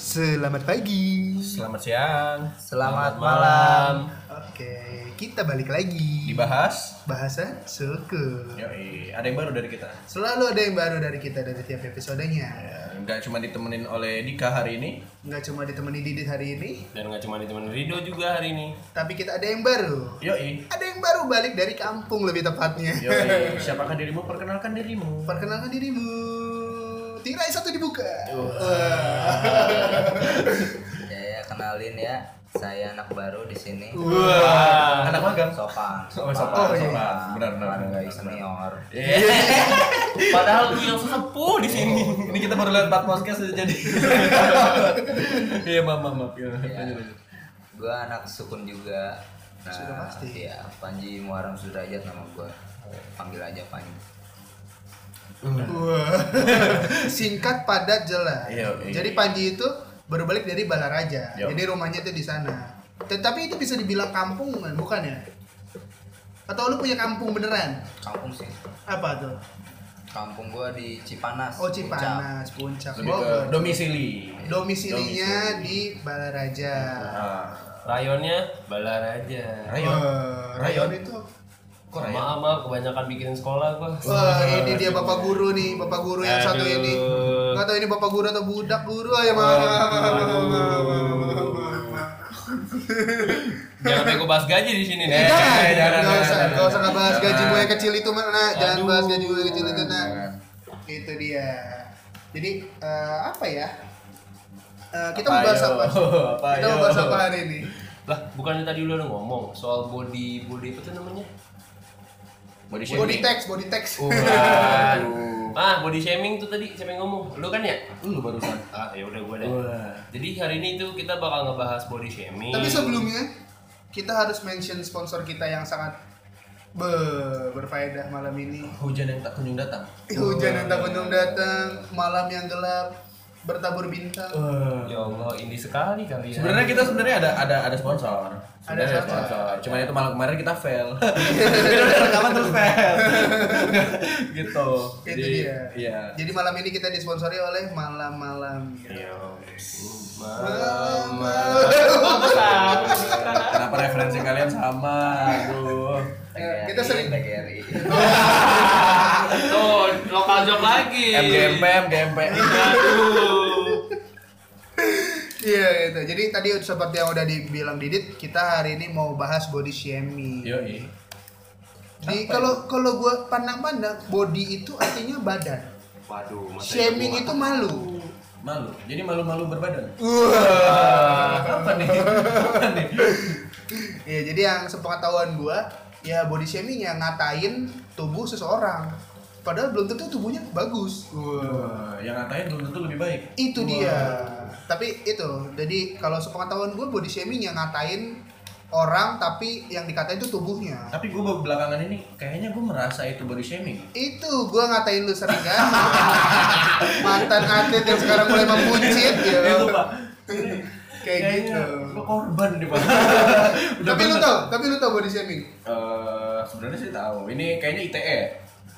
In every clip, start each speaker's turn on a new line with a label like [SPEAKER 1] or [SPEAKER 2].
[SPEAKER 1] Selamat pagi.
[SPEAKER 2] Selamat siang.
[SPEAKER 3] Selamat malam.
[SPEAKER 1] Oke, kita balik lagi.
[SPEAKER 2] Dibahas.
[SPEAKER 1] Bahasan suku.
[SPEAKER 2] Yoi, ada yang baru dari kita.
[SPEAKER 1] Selalu ada yang baru dari kita dari tiap episodenya.
[SPEAKER 2] Ya, Nggak cuma ditemenin oleh Dika hari ini.
[SPEAKER 1] Nggak cuma ditemani Didit hari ini,
[SPEAKER 3] Dan nggak cuma di teman Rido juga hari ini.
[SPEAKER 1] tapi kita ada yang baru.
[SPEAKER 2] Yoi.
[SPEAKER 1] Ada yang baru balik dari kampung lebih tepatnya.
[SPEAKER 2] Yoi. Siapakah dirimu? Perkenalkan dirimu.
[SPEAKER 1] Perkenalkan dirimu. Tirai satu dibuka.
[SPEAKER 4] Ya, ya kenalin ya. Saya anak baru di sini.
[SPEAKER 2] Wah. Anak magang.
[SPEAKER 4] Sopan.
[SPEAKER 2] Oh, sopan, sopan. Benar, benar, benar,
[SPEAKER 4] Hargai
[SPEAKER 2] benar. Iya.
[SPEAKER 4] senior.
[SPEAKER 3] Padahal gue yang sesepuh di sini.
[SPEAKER 2] ini kita baru lihat 4 podcast aja jadi. Iya, maaf, maaf, maaf. Ya,
[SPEAKER 4] Iya.
[SPEAKER 2] lanjut, lanjut.
[SPEAKER 4] Gua anak sukun juga. Nah,
[SPEAKER 1] Sudah pasti.
[SPEAKER 4] Ya, Panji Muharam Sudrajat nama gua. Panggil aja Panji.
[SPEAKER 1] Wah. Singkat, padat, jelas.
[SPEAKER 2] Iya, iya.
[SPEAKER 1] Jadi Panji itu baru balik dari Balaraja.
[SPEAKER 2] Iya.
[SPEAKER 1] Jadi rumahnya tuh di sana. Tetapi itu bisa dibilang kampung kan, bukan ya? Atau lu punya kampung beneran?
[SPEAKER 4] Kampung sih.
[SPEAKER 1] Apa tuh?
[SPEAKER 4] Kampung gua di Cipanas.
[SPEAKER 1] Oh
[SPEAKER 4] Puncak.
[SPEAKER 1] Cipanas, Puncak.
[SPEAKER 2] Lebih ke
[SPEAKER 1] Bogor.
[SPEAKER 2] domisili.
[SPEAKER 1] Domisilinya
[SPEAKER 2] Domisili.
[SPEAKER 1] di Balaraja.
[SPEAKER 2] Ah,
[SPEAKER 3] Rayonnya Balaraja.
[SPEAKER 2] Rayon.
[SPEAKER 1] Wah, Rayon
[SPEAKER 2] Rayon.
[SPEAKER 1] itu.
[SPEAKER 2] Kok Rayon?
[SPEAKER 3] Maaf, maaf kebanyakan bikin sekolah gua.
[SPEAKER 1] Wah, ini dia bapak guru nih, bapak guru yang satu
[SPEAKER 3] Aduh.
[SPEAKER 1] ini. Enggak tahu ini bapak guru atau budak guru ya,
[SPEAKER 3] Jangan sampai gue bahas gaji di sini nih.
[SPEAKER 1] Eh, jangan, jangan,
[SPEAKER 2] jangan,
[SPEAKER 1] jangan, usah,
[SPEAKER 2] jangan,
[SPEAKER 1] nggak usah
[SPEAKER 2] jangan.
[SPEAKER 1] ngebahas gaji
[SPEAKER 2] Jangan.
[SPEAKER 1] gue yang kecil itu mana, jangan
[SPEAKER 3] Aduh.
[SPEAKER 1] bahas gaji gue yang kecil itu nah. Itu dia. Jadi eh, apa ya? Eh, kita
[SPEAKER 2] Apa
[SPEAKER 1] mau bahas
[SPEAKER 2] yo?
[SPEAKER 1] apa?
[SPEAKER 2] Apa
[SPEAKER 1] Kita
[SPEAKER 2] yo?
[SPEAKER 1] mau bahas apa hari ini?
[SPEAKER 3] Lah, bukannya tadi lu udah ngomong soal body body apa tuh namanya?
[SPEAKER 2] Body
[SPEAKER 1] Body
[SPEAKER 2] shaming.
[SPEAKER 1] text, body text.
[SPEAKER 2] Oh.
[SPEAKER 3] Bukan.
[SPEAKER 2] Aduh.
[SPEAKER 3] ah, body shaming tuh tadi siapa yang ngomong? Lu kan ya?
[SPEAKER 2] Lu barusan.
[SPEAKER 3] Ah, ya udah gua deh.
[SPEAKER 2] Wah.
[SPEAKER 3] Jadi hari ini tuh kita bakal ngebahas body shaming.
[SPEAKER 1] Tapi sebelumnya kita harus mention sponsor kita yang sangat be- berfaedah malam ini.
[SPEAKER 2] Hujan yang tak kunjung datang.
[SPEAKER 1] Iya, Hujan yang tak kunjung datang, malam yang gelap, bertabur
[SPEAKER 2] Oh.
[SPEAKER 1] bintang.
[SPEAKER 3] ya Allah, ini sekali kali ya.
[SPEAKER 2] Sebenarnya kita sebenarnya ada ada ada sponsor. Sebenarnya ada
[SPEAKER 1] sponsor. Iya.
[SPEAKER 2] sponsor. Cuman itu malam kemarin kita fail. kita udah rekaman terus fail. gitu.
[SPEAKER 1] Itu dia.
[SPEAKER 2] Iya.
[SPEAKER 1] Jadi malam ini kita disponsori oleh malam-malam.
[SPEAKER 2] Iya.
[SPEAKER 3] Ya Allah.
[SPEAKER 2] Kenapa referensi kalian sama? Aduh.
[SPEAKER 1] Eh, kita sering-
[SPEAKER 4] TGRI.
[SPEAKER 3] Tuh, lokal job lagi.
[SPEAKER 2] MGMP, MGMP.
[SPEAKER 3] Aduh.
[SPEAKER 1] Iya gitu. Jadi tadi seperti yang udah dibilang Didit, kita hari ini mau bahas body shaming.
[SPEAKER 2] Yoi.
[SPEAKER 1] Jadi kalau kalau gua pandang-pandang body itu artinya badan.
[SPEAKER 3] Waduh, masa iya
[SPEAKER 1] Shaming itu malu.
[SPEAKER 2] Malu. Jadi malu-malu berbadan.
[SPEAKER 3] Wah.
[SPEAKER 2] Apa nih? Apa nih?
[SPEAKER 1] Ya jadi yang sepengetahuan gua ya body shaming yang ngatain tubuh seseorang. Padahal belum tentu tubuhnya bagus.
[SPEAKER 2] Wah, yang ngatain belum tentu lebih baik.
[SPEAKER 1] Itu dia. Tapi itu, jadi kalau sepengetahuan gue body shaming yang ngatain orang tapi yang dikatain itu tubuhnya.
[SPEAKER 2] Tapi gue belakangan ini kayaknya gue merasa itu body shaming.
[SPEAKER 1] Itu gue ngatain lu sering kan. Mantan atlet yang sekarang mulai membuncit ya.
[SPEAKER 2] Itu pak.
[SPEAKER 1] Kayak gitu.
[SPEAKER 2] Gue korban nih pak. Udah
[SPEAKER 1] Tapi lu
[SPEAKER 2] bener.
[SPEAKER 1] tau, tapi lu tau body shaming.
[SPEAKER 2] Eh, sebenarnya sih tahu. Ini kayaknya ITE.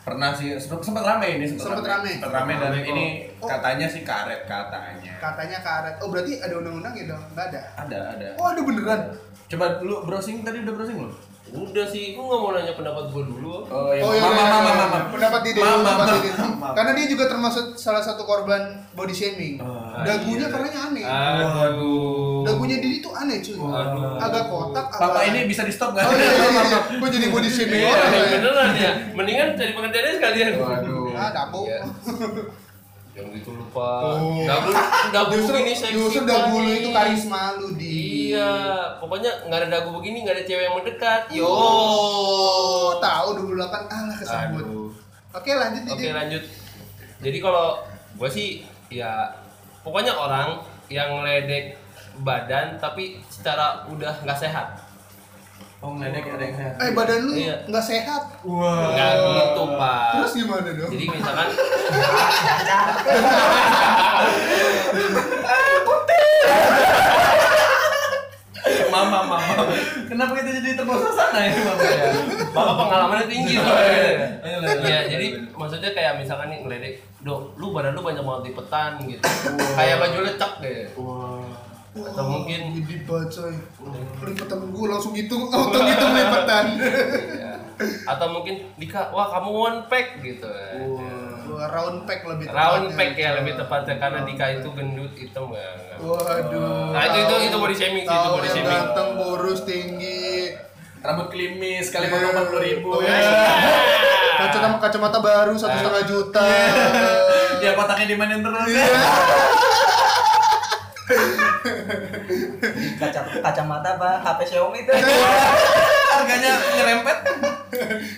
[SPEAKER 2] Pernah sih sempat sempat rame ini
[SPEAKER 1] Sempet rame.
[SPEAKER 2] Sempat rame dan
[SPEAKER 3] Rame kok.
[SPEAKER 2] ini
[SPEAKER 1] Oh.
[SPEAKER 2] katanya sih karet katanya.
[SPEAKER 1] Katanya karet. Oh berarti ada undang-undang ya dong? Gak ada.
[SPEAKER 2] Ada ada.
[SPEAKER 1] Oh ada beneran.
[SPEAKER 2] Coba lu browsing tadi udah browsing belum?
[SPEAKER 3] Udah sih, gua nggak mau nanya pendapat gua dulu.
[SPEAKER 2] Oh iya.
[SPEAKER 1] Oh iya,
[SPEAKER 2] mama,
[SPEAKER 1] iya,
[SPEAKER 2] mama,
[SPEAKER 1] iya.
[SPEAKER 2] mama,
[SPEAKER 1] pendapat Didi,
[SPEAKER 2] Mama,
[SPEAKER 1] pendapat
[SPEAKER 2] mama.
[SPEAKER 1] Didi.
[SPEAKER 2] Mama.
[SPEAKER 1] Karena dia juga termasuk salah satu korban body shaming.
[SPEAKER 2] Ah,
[SPEAKER 1] Dagunya
[SPEAKER 3] iya.
[SPEAKER 1] karena aneh.
[SPEAKER 3] Aduh.
[SPEAKER 1] Dagunya Didi tuh aneh cuy.
[SPEAKER 3] Waduh.
[SPEAKER 1] Agak kotak, agak
[SPEAKER 2] Papa ini bisa di stop nggak?
[SPEAKER 1] Oh iya, iya, iya. Gua jadi body shaming
[SPEAKER 3] Iya,
[SPEAKER 1] orang ya.
[SPEAKER 3] beneran ya. Mendingan cari pekerjaannya sekalian.
[SPEAKER 2] Waduh.
[SPEAKER 1] Ah, dapur.
[SPEAKER 4] Iya.
[SPEAKER 3] Yang gitu lupa.
[SPEAKER 1] Oh.
[SPEAKER 3] Dagu, dagu
[SPEAKER 1] Justru
[SPEAKER 3] ini seksi.
[SPEAKER 1] justru dagu lu
[SPEAKER 3] banget.
[SPEAKER 1] itu karisma lu di.
[SPEAKER 3] Iya, pokoknya nggak ada dagu begini, nggak ada cewek yang mendekat. Yo.
[SPEAKER 1] Oh, tahu 28 alah kesebut.
[SPEAKER 3] Aduh.
[SPEAKER 1] Oke, lanjut
[SPEAKER 3] Oke
[SPEAKER 1] Didi.
[SPEAKER 3] lanjut. Jadi kalau gue sih ya pokoknya orang yang ledek badan tapi secara udah nggak sehat.
[SPEAKER 2] Oh ngeledek ada yang sehat.
[SPEAKER 1] Eh, badan lu
[SPEAKER 3] Iya.
[SPEAKER 1] nggak sehat.
[SPEAKER 2] Wah.
[SPEAKER 3] Nggak gitu pak.
[SPEAKER 1] Terus gimana dong?
[SPEAKER 3] Jadi misalkan
[SPEAKER 2] mama mama kenapa kita jadi terbawa suasana ya mama ya
[SPEAKER 3] Bapak pengalamannya tinggi soalnya.
[SPEAKER 2] Ayo, ayo, ayo,
[SPEAKER 3] Iya,
[SPEAKER 2] ayo,
[SPEAKER 3] jadi
[SPEAKER 2] ayo.
[SPEAKER 3] maksudnya kayak misalkan nih ngeledek, "Dok, lu badan lu banyak banget lipetan gitu." Kayak baju lecek deh.
[SPEAKER 1] Wah.
[SPEAKER 3] Atau mungkin-
[SPEAKER 1] gede banget coy. Lipatan gue langsung hitung, auto hitung lipatan.
[SPEAKER 3] Iya. Atau mungkin Dika, "Wah, kamu one pack" gitu.
[SPEAKER 1] Wah, round pack lebih
[SPEAKER 3] Round
[SPEAKER 1] tepatnya.
[SPEAKER 3] pack ya lebih tepatnya karena
[SPEAKER 1] Round
[SPEAKER 3] Dika
[SPEAKER 1] pack.
[SPEAKER 3] itu gendut hitam banget.
[SPEAKER 1] Waduh.
[SPEAKER 3] Nah, itu- itu- itu body shaming sih, itu
[SPEAKER 1] Tahu
[SPEAKER 3] body
[SPEAKER 1] yang
[SPEAKER 3] shaming.
[SPEAKER 1] Ganteng, kurus, tinggi.
[SPEAKER 2] rambut klimis kali mau empat puluh ribu
[SPEAKER 1] Tuh, Kacamata kacamata Iya. baru
[SPEAKER 3] Ah.
[SPEAKER 1] satu setengah juta.
[SPEAKER 3] Iya.
[SPEAKER 2] ya kotaknya dimainin terus ya
[SPEAKER 4] Kaca, kacamata apa HP Xiaomi itu
[SPEAKER 2] harganya nyerempet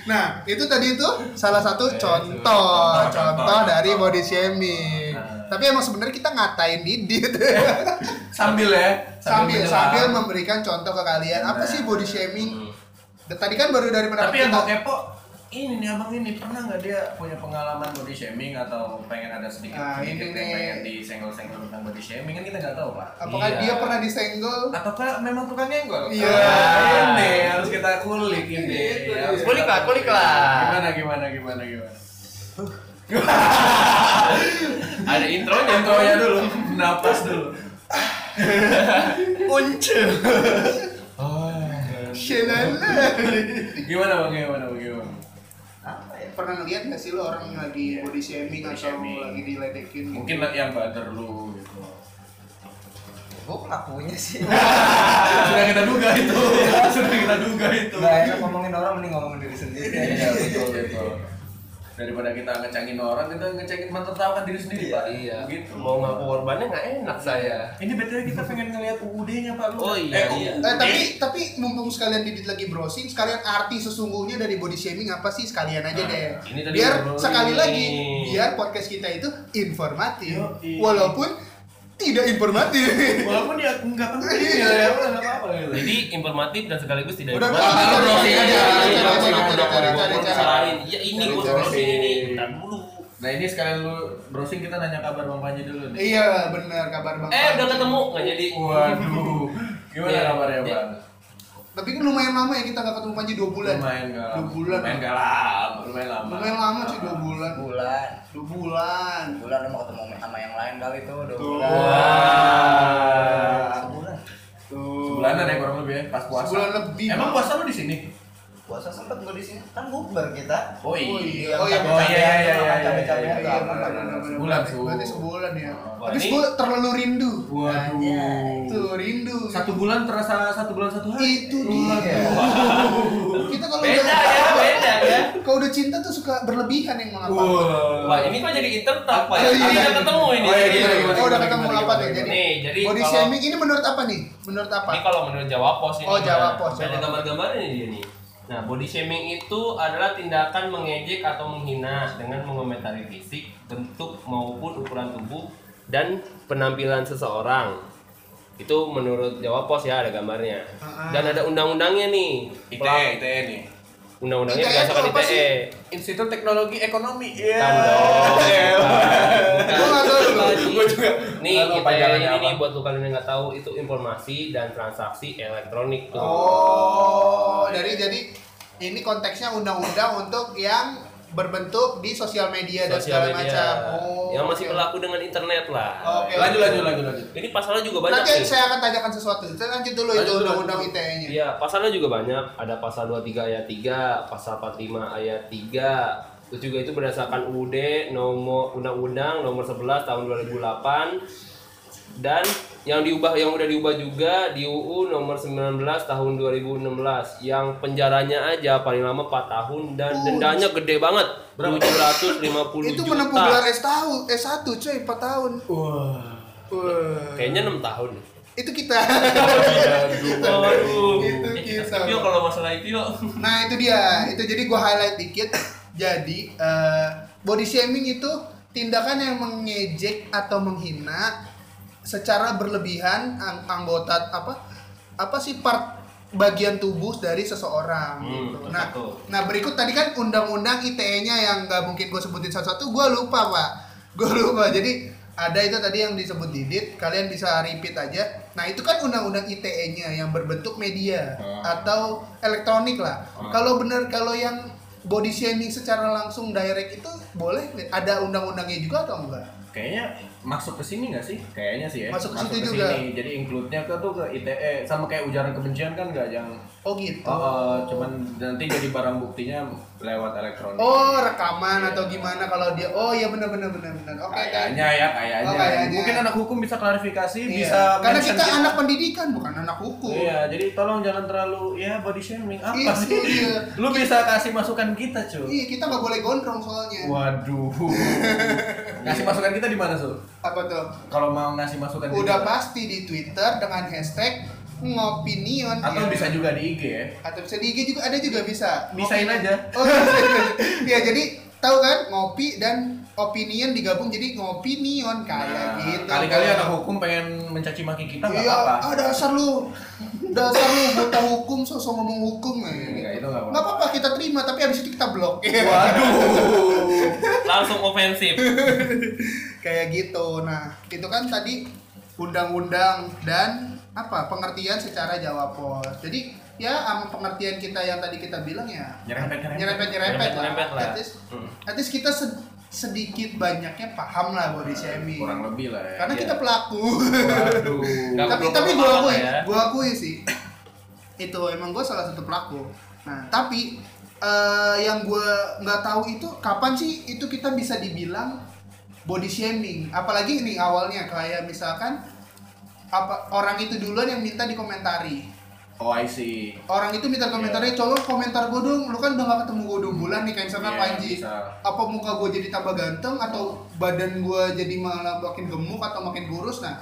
[SPEAKER 1] Nah, itu tadi itu salah satu
[SPEAKER 3] Eh,
[SPEAKER 1] contoh,
[SPEAKER 2] contoh,
[SPEAKER 1] contoh,
[SPEAKER 2] contoh.
[SPEAKER 1] dari body shaming.
[SPEAKER 2] Nah. Eh,
[SPEAKER 1] Tapi emang sebenarnya kita ngatain Didit
[SPEAKER 2] sambil ya
[SPEAKER 1] sambil
[SPEAKER 2] menyerang.
[SPEAKER 1] sambil memberikan contoh ke kalian. Apa
[SPEAKER 2] Nah.
[SPEAKER 1] sih body shaming?
[SPEAKER 3] Hmm.
[SPEAKER 1] Tadi kan baru dari pendapat
[SPEAKER 2] tapi yang
[SPEAKER 1] kita.
[SPEAKER 2] gue kepo ini nih abang ini pernah nggak dia punya pengalaman body shaming atau pengen ada sedikit
[SPEAKER 1] Nah, ini
[SPEAKER 2] sedikit yang
[SPEAKER 1] nih.
[SPEAKER 2] pengen disenggol-senggol tentang body shaming kan kita nggak tahu pak
[SPEAKER 1] Apakah
[SPEAKER 3] Iya.
[SPEAKER 1] dia pernah disenggol?
[SPEAKER 2] ataukah memang tukang nyenggol
[SPEAKER 1] Iya.
[SPEAKER 2] Ah, ini harus kita kulik ini
[SPEAKER 1] Gitu, iya.
[SPEAKER 2] Harus kita
[SPEAKER 3] Kulik lah, kulik lah.
[SPEAKER 2] gimana gimana gimana gimana
[SPEAKER 3] Ada intronya.
[SPEAKER 2] intronya dulu napas dulu unce Iya.
[SPEAKER 1] Shalala.
[SPEAKER 2] gimana bang gimana bang gimana
[SPEAKER 1] Apa ya? Pernah ngeliat nggak sih lo orang yang lagi body shaming
[SPEAKER 2] Body
[SPEAKER 1] atau
[SPEAKER 2] shaming.
[SPEAKER 1] lagi diledekin? gitu?
[SPEAKER 2] mungkin yang bader lu gitu
[SPEAKER 4] gue ngakunya sih
[SPEAKER 2] sudah kita duga itu sudah kita duga itu
[SPEAKER 4] nggak enak ngomongin orang mending ngomongin diri sendiri
[SPEAKER 2] Iya, betul, betul. daripada kita ngecengin orang kita ngecengin mentertawakan diri sendiri pak
[SPEAKER 3] Iya.
[SPEAKER 2] gitu
[SPEAKER 3] Mau ngaku korbannya nggak enak saya.
[SPEAKER 2] ini betulnya kita pengen ngeliat UUD-nya pak lu
[SPEAKER 3] Oh, iya, iya.
[SPEAKER 1] Eh, tapi tapi mumpung sekalian Didit lagi browsing, sekalian arti sesungguhnya dari body shaming apa sih sekalian aja
[SPEAKER 3] Nah,
[SPEAKER 1] deh.
[SPEAKER 3] ini tadi
[SPEAKER 1] biar
[SPEAKER 3] ngobrolin.
[SPEAKER 1] sekali lagi biar podcast kita itu informatif
[SPEAKER 2] Yoi.
[SPEAKER 1] walaupun tidak informatif.
[SPEAKER 2] walaupun dia nggak penting
[SPEAKER 1] Iya.
[SPEAKER 2] ya ya udah nggak apa-apa gitu
[SPEAKER 3] Jadi informatif dan sekaligus tidak
[SPEAKER 1] Udah,
[SPEAKER 3] informatif.
[SPEAKER 2] udah, udah,
[SPEAKER 3] Iya,
[SPEAKER 2] udah, udah,
[SPEAKER 3] iya, iya,
[SPEAKER 2] udah, udah,
[SPEAKER 3] iya,
[SPEAKER 2] udah,
[SPEAKER 3] iya, iya,
[SPEAKER 2] udah,
[SPEAKER 3] iya,
[SPEAKER 2] udah,
[SPEAKER 3] salahin. Iya, ini
[SPEAKER 2] Udah,
[SPEAKER 3] gue
[SPEAKER 2] udah,
[SPEAKER 3] browsing
[SPEAKER 2] udah.
[SPEAKER 3] ini. Bentar dulu.
[SPEAKER 2] nah ini sekalian lu browsing kita nanya kabar bang Panji dulu nih
[SPEAKER 1] iya, benar kabar Bang.
[SPEAKER 3] Eh,
[SPEAKER 1] Pan.
[SPEAKER 3] udah ketemu nggak jadi.
[SPEAKER 1] Iya.
[SPEAKER 2] waduh gimana
[SPEAKER 3] Iya,
[SPEAKER 2] kabarnya
[SPEAKER 3] iya.
[SPEAKER 2] bang
[SPEAKER 1] Tapi kan lumayan lama ya kita nggak ketemu Panji 2 bulan.
[SPEAKER 2] lumayan nggak
[SPEAKER 1] Dua
[SPEAKER 2] lama
[SPEAKER 1] bulan.
[SPEAKER 2] lumayan nggak lama lumayan lama
[SPEAKER 1] Lumayan lama sih 2 bulan.
[SPEAKER 4] bulan
[SPEAKER 1] 2 bulan.
[SPEAKER 4] bulan lu mau ketemu sama yang lain kali tuh dua
[SPEAKER 1] Tuh.
[SPEAKER 4] bulan
[SPEAKER 2] Wah.
[SPEAKER 4] sebulan
[SPEAKER 1] Tuh.
[SPEAKER 2] sebulanan ya kurang lebih ya pas puasa
[SPEAKER 1] Sebulan lebih.
[SPEAKER 2] emang puasa lu di sini
[SPEAKER 4] puasa sempet gue di sini kan bukber kita
[SPEAKER 2] oh iya
[SPEAKER 1] Oh, iya,
[SPEAKER 2] oh iya iya iya iya iya,
[SPEAKER 4] Cabe-cabe
[SPEAKER 2] iya,
[SPEAKER 1] Iya,
[SPEAKER 2] iya
[SPEAKER 1] iya, benar, benar, benar.
[SPEAKER 2] sebulan
[SPEAKER 1] Berarti-
[SPEAKER 2] tuh
[SPEAKER 1] Berarti sebulan ya.
[SPEAKER 2] Wah,
[SPEAKER 1] Habis
[SPEAKER 3] ini-
[SPEAKER 1] gue terlalu rindu.
[SPEAKER 2] waduh
[SPEAKER 1] Iya,
[SPEAKER 3] Oh.
[SPEAKER 1] Tuh, rindu.
[SPEAKER 2] satu bulan terasa satu bulan satu hari
[SPEAKER 1] Itu
[SPEAKER 2] Waduh.
[SPEAKER 1] dia. Iya. Kita kalau
[SPEAKER 3] Beda ya, beda ya.
[SPEAKER 1] Kalau udah cinta tuh suka berlebihan yang mengapa.
[SPEAKER 3] Wah,
[SPEAKER 2] Wah, iya.
[SPEAKER 3] ini kok jadi intertak, Pak? ya?
[SPEAKER 1] Oh, iya.
[SPEAKER 3] Ini udah ketemu
[SPEAKER 2] Oh,
[SPEAKER 3] ini.
[SPEAKER 2] iya,
[SPEAKER 3] Jadi,
[SPEAKER 2] gimana, gimana?
[SPEAKER 1] Oh, udah ketemu
[SPEAKER 2] Gimana,
[SPEAKER 1] apa
[SPEAKER 2] gimana,
[SPEAKER 1] tuh?
[SPEAKER 2] gimana?
[SPEAKER 1] Jadi
[SPEAKER 3] Nih, jadi
[SPEAKER 1] body
[SPEAKER 3] kalau-
[SPEAKER 1] shaming ini menurut apa nih? Menurut apa?
[SPEAKER 3] Ini kalau menurut Jawa Pos ini.
[SPEAKER 1] Oh,
[SPEAKER 3] gimana?
[SPEAKER 1] Jawa Pos,
[SPEAKER 3] Ada
[SPEAKER 1] Jawa Pos.
[SPEAKER 3] gambar-gambarnya nih dia nih. Nah, body shaming itu adalah tindakan mengejek atau menghina dengan mengomentari fisik, bentuk maupun ukuran tubuh dan penampilan seseorang. Itu menurut Jawa Pos ya ada gambarnya.
[SPEAKER 1] Ah, E. ah.
[SPEAKER 3] Dan ada undang-undangnya nih.
[SPEAKER 2] ITE
[SPEAKER 3] Pelaku-
[SPEAKER 2] ITE E nih
[SPEAKER 3] Undang-undangnya
[SPEAKER 1] ITE E itu
[SPEAKER 3] berdasarkan E.
[SPEAKER 1] apa sih?
[SPEAKER 3] ITE.
[SPEAKER 2] Institut Teknologi Ekonomi
[SPEAKER 3] Bukan
[SPEAKER 1] Iya.
[SPEAKER 3] dong. Bukan.
[SPEAKER 1] Gua nggak tahu dulu.
[SPEAKER 2] Gue juga
[SPEAKER 3] Nih,
[SPEAKER 2] Nggak tahu
[SPEAKER 3] ITE
[SPEAKER 2] panjangannya
[SPEAKER 3] ini
[SPEAKER 2] apa.
[SPEAKER 3] buat lu kalian yang nggak tahu itu informasi dan transaksi elektronik tuh.
[SPEAKER 1] Oh, dari jadi ini konteksnya undang-undang untuk yang berbentuk di sosial media dan
[SPEAKER 3] sosial
[SPEAKER 1] segala
[SPEAKER 3] media
[SPEAKER 1] macam. Oh,
[SPEAKER 3] yang
[SPEAKER 1] oke.
[SPEAKER 3] masih
[SPEAKER 1] Oh.
[SPEAKER 3] berlaku dengan internet lah.
[SPEAKER 1] Oke.
[SPEAKER 2] Lanjut lanjut lanjut lanjut
[SPEAKER 3] Ini pasalnya juga banyak
[SPEAKER 1] Nanti
[SPEAKER 3] nih.
[SPEAKER 1] saya akan tanyakan sesuatu. Kita lanjut dulu
[SPEAKER 3] Lanjut
[SPEAKER 1] itu
[SPEAKER 3] dulu,
[SPEAKER 1] undang-undang
[SPEAKER 3] lanjut dulu.
[SPEAKER 1] ITE-nya.
[SPEAKER 3] Iya, pasalnya juga banyak. Ada pasal 23 ayat 3, pasal 45 ayat 3. Terus juga itu berdasarkan UUD nomor Undang-Undang nomor 11 tahun 2008 dan yang diubah yang udah diubah juga di UU nomor 19 tahun 2016 yang penjaranya aja paling lama 4 tahun dan dendanya gede banget 750
[SPEAKER 1] Itu
[SPEAKER 3] juta.
[SPEAKER 1] menempuh gelar S tahu S1 cuy 4 tahun.
[SPEAKER 2] Wah
[SPEAKER 1] Wah.
[SPEAKER 3] Kayaknya 6 tahun.
[SPEAKER 1] Itu kita.
[SPEAKER 3] Waduh.
[SPEAKER 1] Itu
[SPEAKER 3] Eh, kita
[SPEAKER 1] kisah.
[SPEAKER 3] skip yuk kalau masalah itu yuk.
[SPEAKER 1] Gitu, nah, itu dia. Itu jadi gua highlight dikit. Jadi eh, body shaming itu tindakan yang mengejek atau menghina secara berlebihan ang- anggota apa apa sih part bagian tubuh dari seseorang
[SPEAKER 3] Hmm,
[SPEAKER 1] gitu. Nah,
[SPEAKER 3] betul.
[SPEAKER 1] nah berikut tadi kan undang-undang ITE-nya yang nggak mungkin gue sebutin satu-satu, gue lupa pak, gue lupa. Jadi ada itu tadi yang disebut Didit, kalian bisa repeat aja. Nah, itu kan undang-undang ITE-nya yang berbentuk media
[SPEAKER 2] Oh.
[SPEAKER 1] atau elektronik lah.
[SPEAKER 2] Oh.
[SPEAKER 1] Kalau bener kalau yang body shaming secara langsung direct itu boleh nggak? ada undang-undangnya juga atau enggak?
[SPEAKER 2] Kayaknya masuk ke sini nggak sih? Kayaknya sih ya.
[SPEAKER 1] Masuk ke situ juga.
[SPEAKER 2] sini. Jadi include-nya ke tuh ke ITE sama kayak ujaran kebencian kan nggak yang
[SPEAKER 1] Oh gitu.
[SPEAKER 2] oh, eh, cuman nanti jadi barang buktinya lewat elektronik.
[SPEAKER 1] Oh, rekaman atau gimana kalau dia Oh iya benar benar benar benar. Oke.
[SPEAKER 2] Kayaknya ya, kayaknya.
[SPEAKER 1] Oh, kayaknya.
[SPEAKER 2] Mungkin anak hukum bisa klarifikasi,
[SPEAKER 1] Iya.
[SPEAKER 2] bisa
[SPEAKER 1] Karena
[SPEAKER 2] mention
[SPEAKER 1] kita anak pendidikan bukan anak hukum.
[SPEAKER 2] Iya, jadi tolong jangan terlalu ya body shaming apa
[SPEAKER 1] Iya,
[SPEAKER 2] sih?
[SPEAKER 1] iya.
[SPEAKER 2] Lu bisa kasih masukan kita, cuy.
[SPEAKER 1] Iya, kita nggak boleh gondrong soalnya.
[SPEAKER 2] Waduh. ngasih masukan kita di mana, Sul?
[SPEAKER 1] Apa tuh?
[SPEAKER 2] Kalau mau ngasih masukan di
[SPEAKER 1] Udah
[SPEAKER 2] mana?
[SPEAKER 1] pasti di Twitter dengan hashtag ngopinion. Iya.
[SPEAKER 2] Atau bisa juga di IG ya.
[SPEAKER 1] atau bisa di IG juga ada juga bisa.
[SPEAKER 2] Bisain aja.
[SPEAKER 1] Oh iya, bisa juga. ya jadi tahu kan ngopi dan opinion digabung jadi ngopinion kayak
[SPEAKER 2] Nah,
[SPEAKER 1] gitu.
[SPEAKER 2] Kali-kali anak hukum pengen mencaci maki kita nggak
[SPEAKER 1] Iya,
[SPEAKER 2] apa-apa.
[SPEAKER 1] ah dasar lu. Dasar lu buta hukum sosok ngomong hukum ya.
[SPEAKER 2] Enggak, itu nggak
[SPEAKER 1] Nggak
[SPEAKER 2] apa-apa.
[SPEAKER 1] apa-apa kita terima tapi habis itu kita blok.
[SPEAKER 2] Waduh.
[SPEAKER 3] Langsung ofensif.
[SPEAKER 1] kayak gitu. Nah, itu kan tadi undang-undang dan apa pengertian secara Jawa Pos. Jadi ya sama pengertian kita yang tadi kita bilang ya
[SPEAKER 2] Nyerempet-nyerempet. Hmm.
[SPEAKER 1] nyerempet nyerempet
[SPEAKER 3] Nyerempet-nyerempet lah.
[SPEAKER 1] At least, at least kita sed- sedikit banyaknya paham lah body shaming.
[SPEAKER 2] Kurang lebih lah ya.
[SPEAKER 1] Karena
[SPEAKER 3] Iya.
[SPEAKER 1] kita pelaku.
[SPEAKER 2] Waduh.
[SPEAKER 3] Nggak
[SPEAKER 1] tapi
[SPEAKER 3] perlu
[SPEAKER 1] tapi gue
[SPEAKER 3] apa-apa
[SPEAKER 1] akui,
[SPEAKER 3] ya.
[SPEAKER 1] gue akui sih. itu emang gue salah satu pelaku. Nah tapi eh, yang gue nggak tahu itu kapan sih itu kita bisa dibilang body shaming. Apalagi ini awalnya kayak misalkan apa orang itu duluan yang minta dikomentari.
[SPEAKER 2] Oh, I see.
[SPEAKER 1] Orang itu minta komentarnya, cowok komentar gue dong, lu kan udah gak ketemu gue dua bulan nih, kayak misalkan
[SPEAKER 2] Iya,
[SPEAKER 1] Panji
[SPEAKER 2] bisa.
[SPEAKER 1] Apa muka gue jadi tambah ganteng, atau badan gue jadi malah makin gemuk atau makin kurus Nah,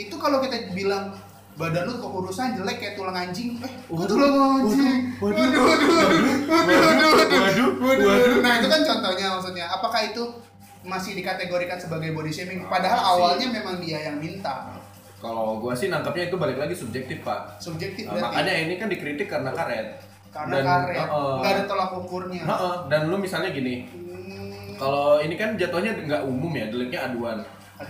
[SPEAKER 1] itu kalau kita bilang, badan lu kekurusan jelek kayak tulang anjing Eh, kok tulang anjing? Waduh, waduh, waduh, waduh, waduh, waduh, Nah, itu kan contohnya maksudnya, apakah itu masih dikategorikan sebagai body shaming? Padahal
[SPEAKER 2] Masih.
[SPEAKER 1] awalnya memang dia yang minta
[SPEAKER 2] Kalau gua sih nangkapnya itu balik lagi subjektif, Pak.
[SPEAKER 1] Subjektif
[SPEAKER 2] Nah,
[SPEAKER 1] berarti
[SPEAKER 2] makanya ini kan dikritik karena karet.
[SPEAKER 1] karena
[SPEAKER 2] Dan,
[SPEAKER 1] karet,
[SPEAKER 2] uh-uh.
[SPEAKER 1] nggak ada tolak ukurnya
[SPEAKER 2] Heeh, dan lu misalnya gini,
[SPEAKER 1] Hmm.
[SPEAKER 2] kalau ini kan jatuhnya nggak umum ya, deliknya aduan.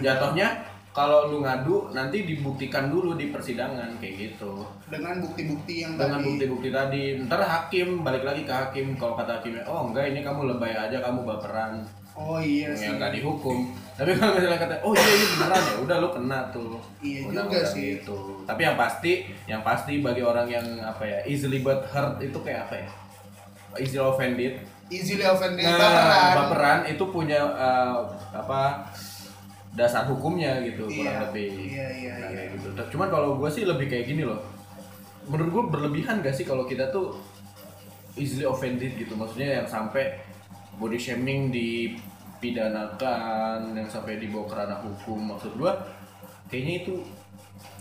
[SPEAKER 2] Jatuhnya kalau lu ngadu nanti dibuktikan dulu di persidangan kayak gitu.
[SPEAKER 1] dengan bukti-bukti yang
[SPEAKER 2] Dengan
[SPEAKER 1] tadi
[SPEAKER 2] bukti-bukti tadi, ntar hakim balik lagi ke hakim kalau kata hakimnya, oh enggak ini kamu lebay aja kamu baperan
[SPEAKER 1] oh iya sih
[SPEAKER 2] yang nggak dihukum. Tapi kalau misalnya kata, oh iya ini beneran ya, udah lu kena tuh.
[SPEAKER 1] Iya
[SPEAKER 2] Undang-undang
[SPEAKER 1] juga sih.
[SPEAKER 2] Gitu. Tapi yang pasti, yang pasti bagi orang yang apa ya, easily but hurt itu kayak apa ya? Easily offended.
[SPEAKER 1] easily offended kan?
[SPEAKER 2] Nah,
[SPEAKER 1] baperan.
[SPEAKER 2] baperan itu punya eh, apa dasar hukumnya gitu kurang
[SPEAKER 1] Iya,
[SPEAKER 2] lebih.
[SPEAKER 1] iya, iya,
[SPEAKER 2] Nah,
[SPEAKER 1] iya.
[SPEAKER 2] kayak gitu. Cuman kalau gue sih lebih kayak gini loh. Menurut gue berlebihan gak sih kalau kita tuh easily offended gitu. Maksudnya yang sampai body shaming dipidanakan, yang sampai dibawa ke ranah hukum. Maksud gue kayaknya itu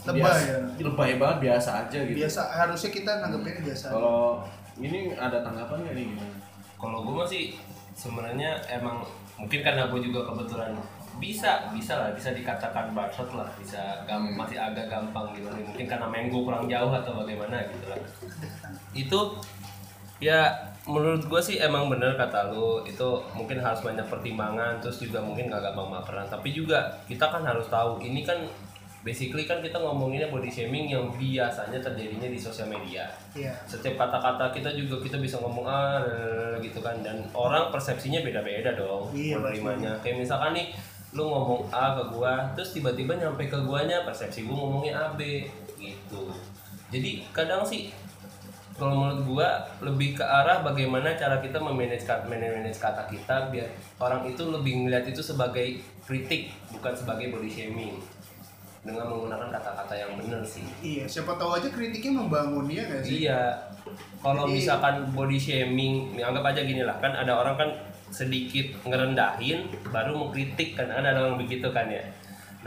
[SPEAKER 1] Lebay
[SPEAKER 2] biasa-
[SPEAKER 1] ya?
[SPEAKER 2] lebay banget biasa aja gitu.
[SPEAKER 1] biasa harusnya kita nanggepinnya biasa
[SPEAKER 2] Kalau ini ada tanggapan gak nih gimana?
[SPEAKER 3] Kalau gue masih sebenarnya emang mungkin karena gue juga kebetulan bisa bisa lah bisa dikatakan bacot lah bisa gam- masih agak gampang gitu mungkin karena main gue kurang jauh atau bagaimana gitu lah itu ya menurut gue sih emang bener kata lu itu mungkin harus banyak pertimbangan terus juga mungkin gak gampang baperan tapi juga kita kan harus tahu ini kan basically kan kita ngomonginnya body shaming yang biasanya terjadinya di sosial media
[SPEAKER 1] iya
[SPEAKER 3] setiap kata-kata kita juga kita bisa ngomong ah lalalala gitu kan dan orang persepsinya beda-beda dong
[SPEAKER 1] Iya,
[SPEAKER 3] menerimanya kayak misalkan nih lu ngomong A ke gua terus tiba-tiba nyampe ke guanya persepsi gua ngomongnya A B gitu jadi kadang sih kalau menurut gua lebih ke arah bagaimana cara kita memanage kata, manage kata kita biar orang itu lebih ngeliat itu sebagai kritik bukan sebagai body shaming dengan menggunakan kata-kata yang benar sih
[SPEAKER 1] iya siapa tahu aja kritiknya membangun dia nggak sih
[SPEAKER 3] Iya. Kalau
[SPEAKER 1] Jadi-
[SPEAKER 3] misalkan body shaming, ya anggap aja gini lah kan ada orang kan sedikit ngerendahin baru mengkritik kan kan ada orang begitu kan ya.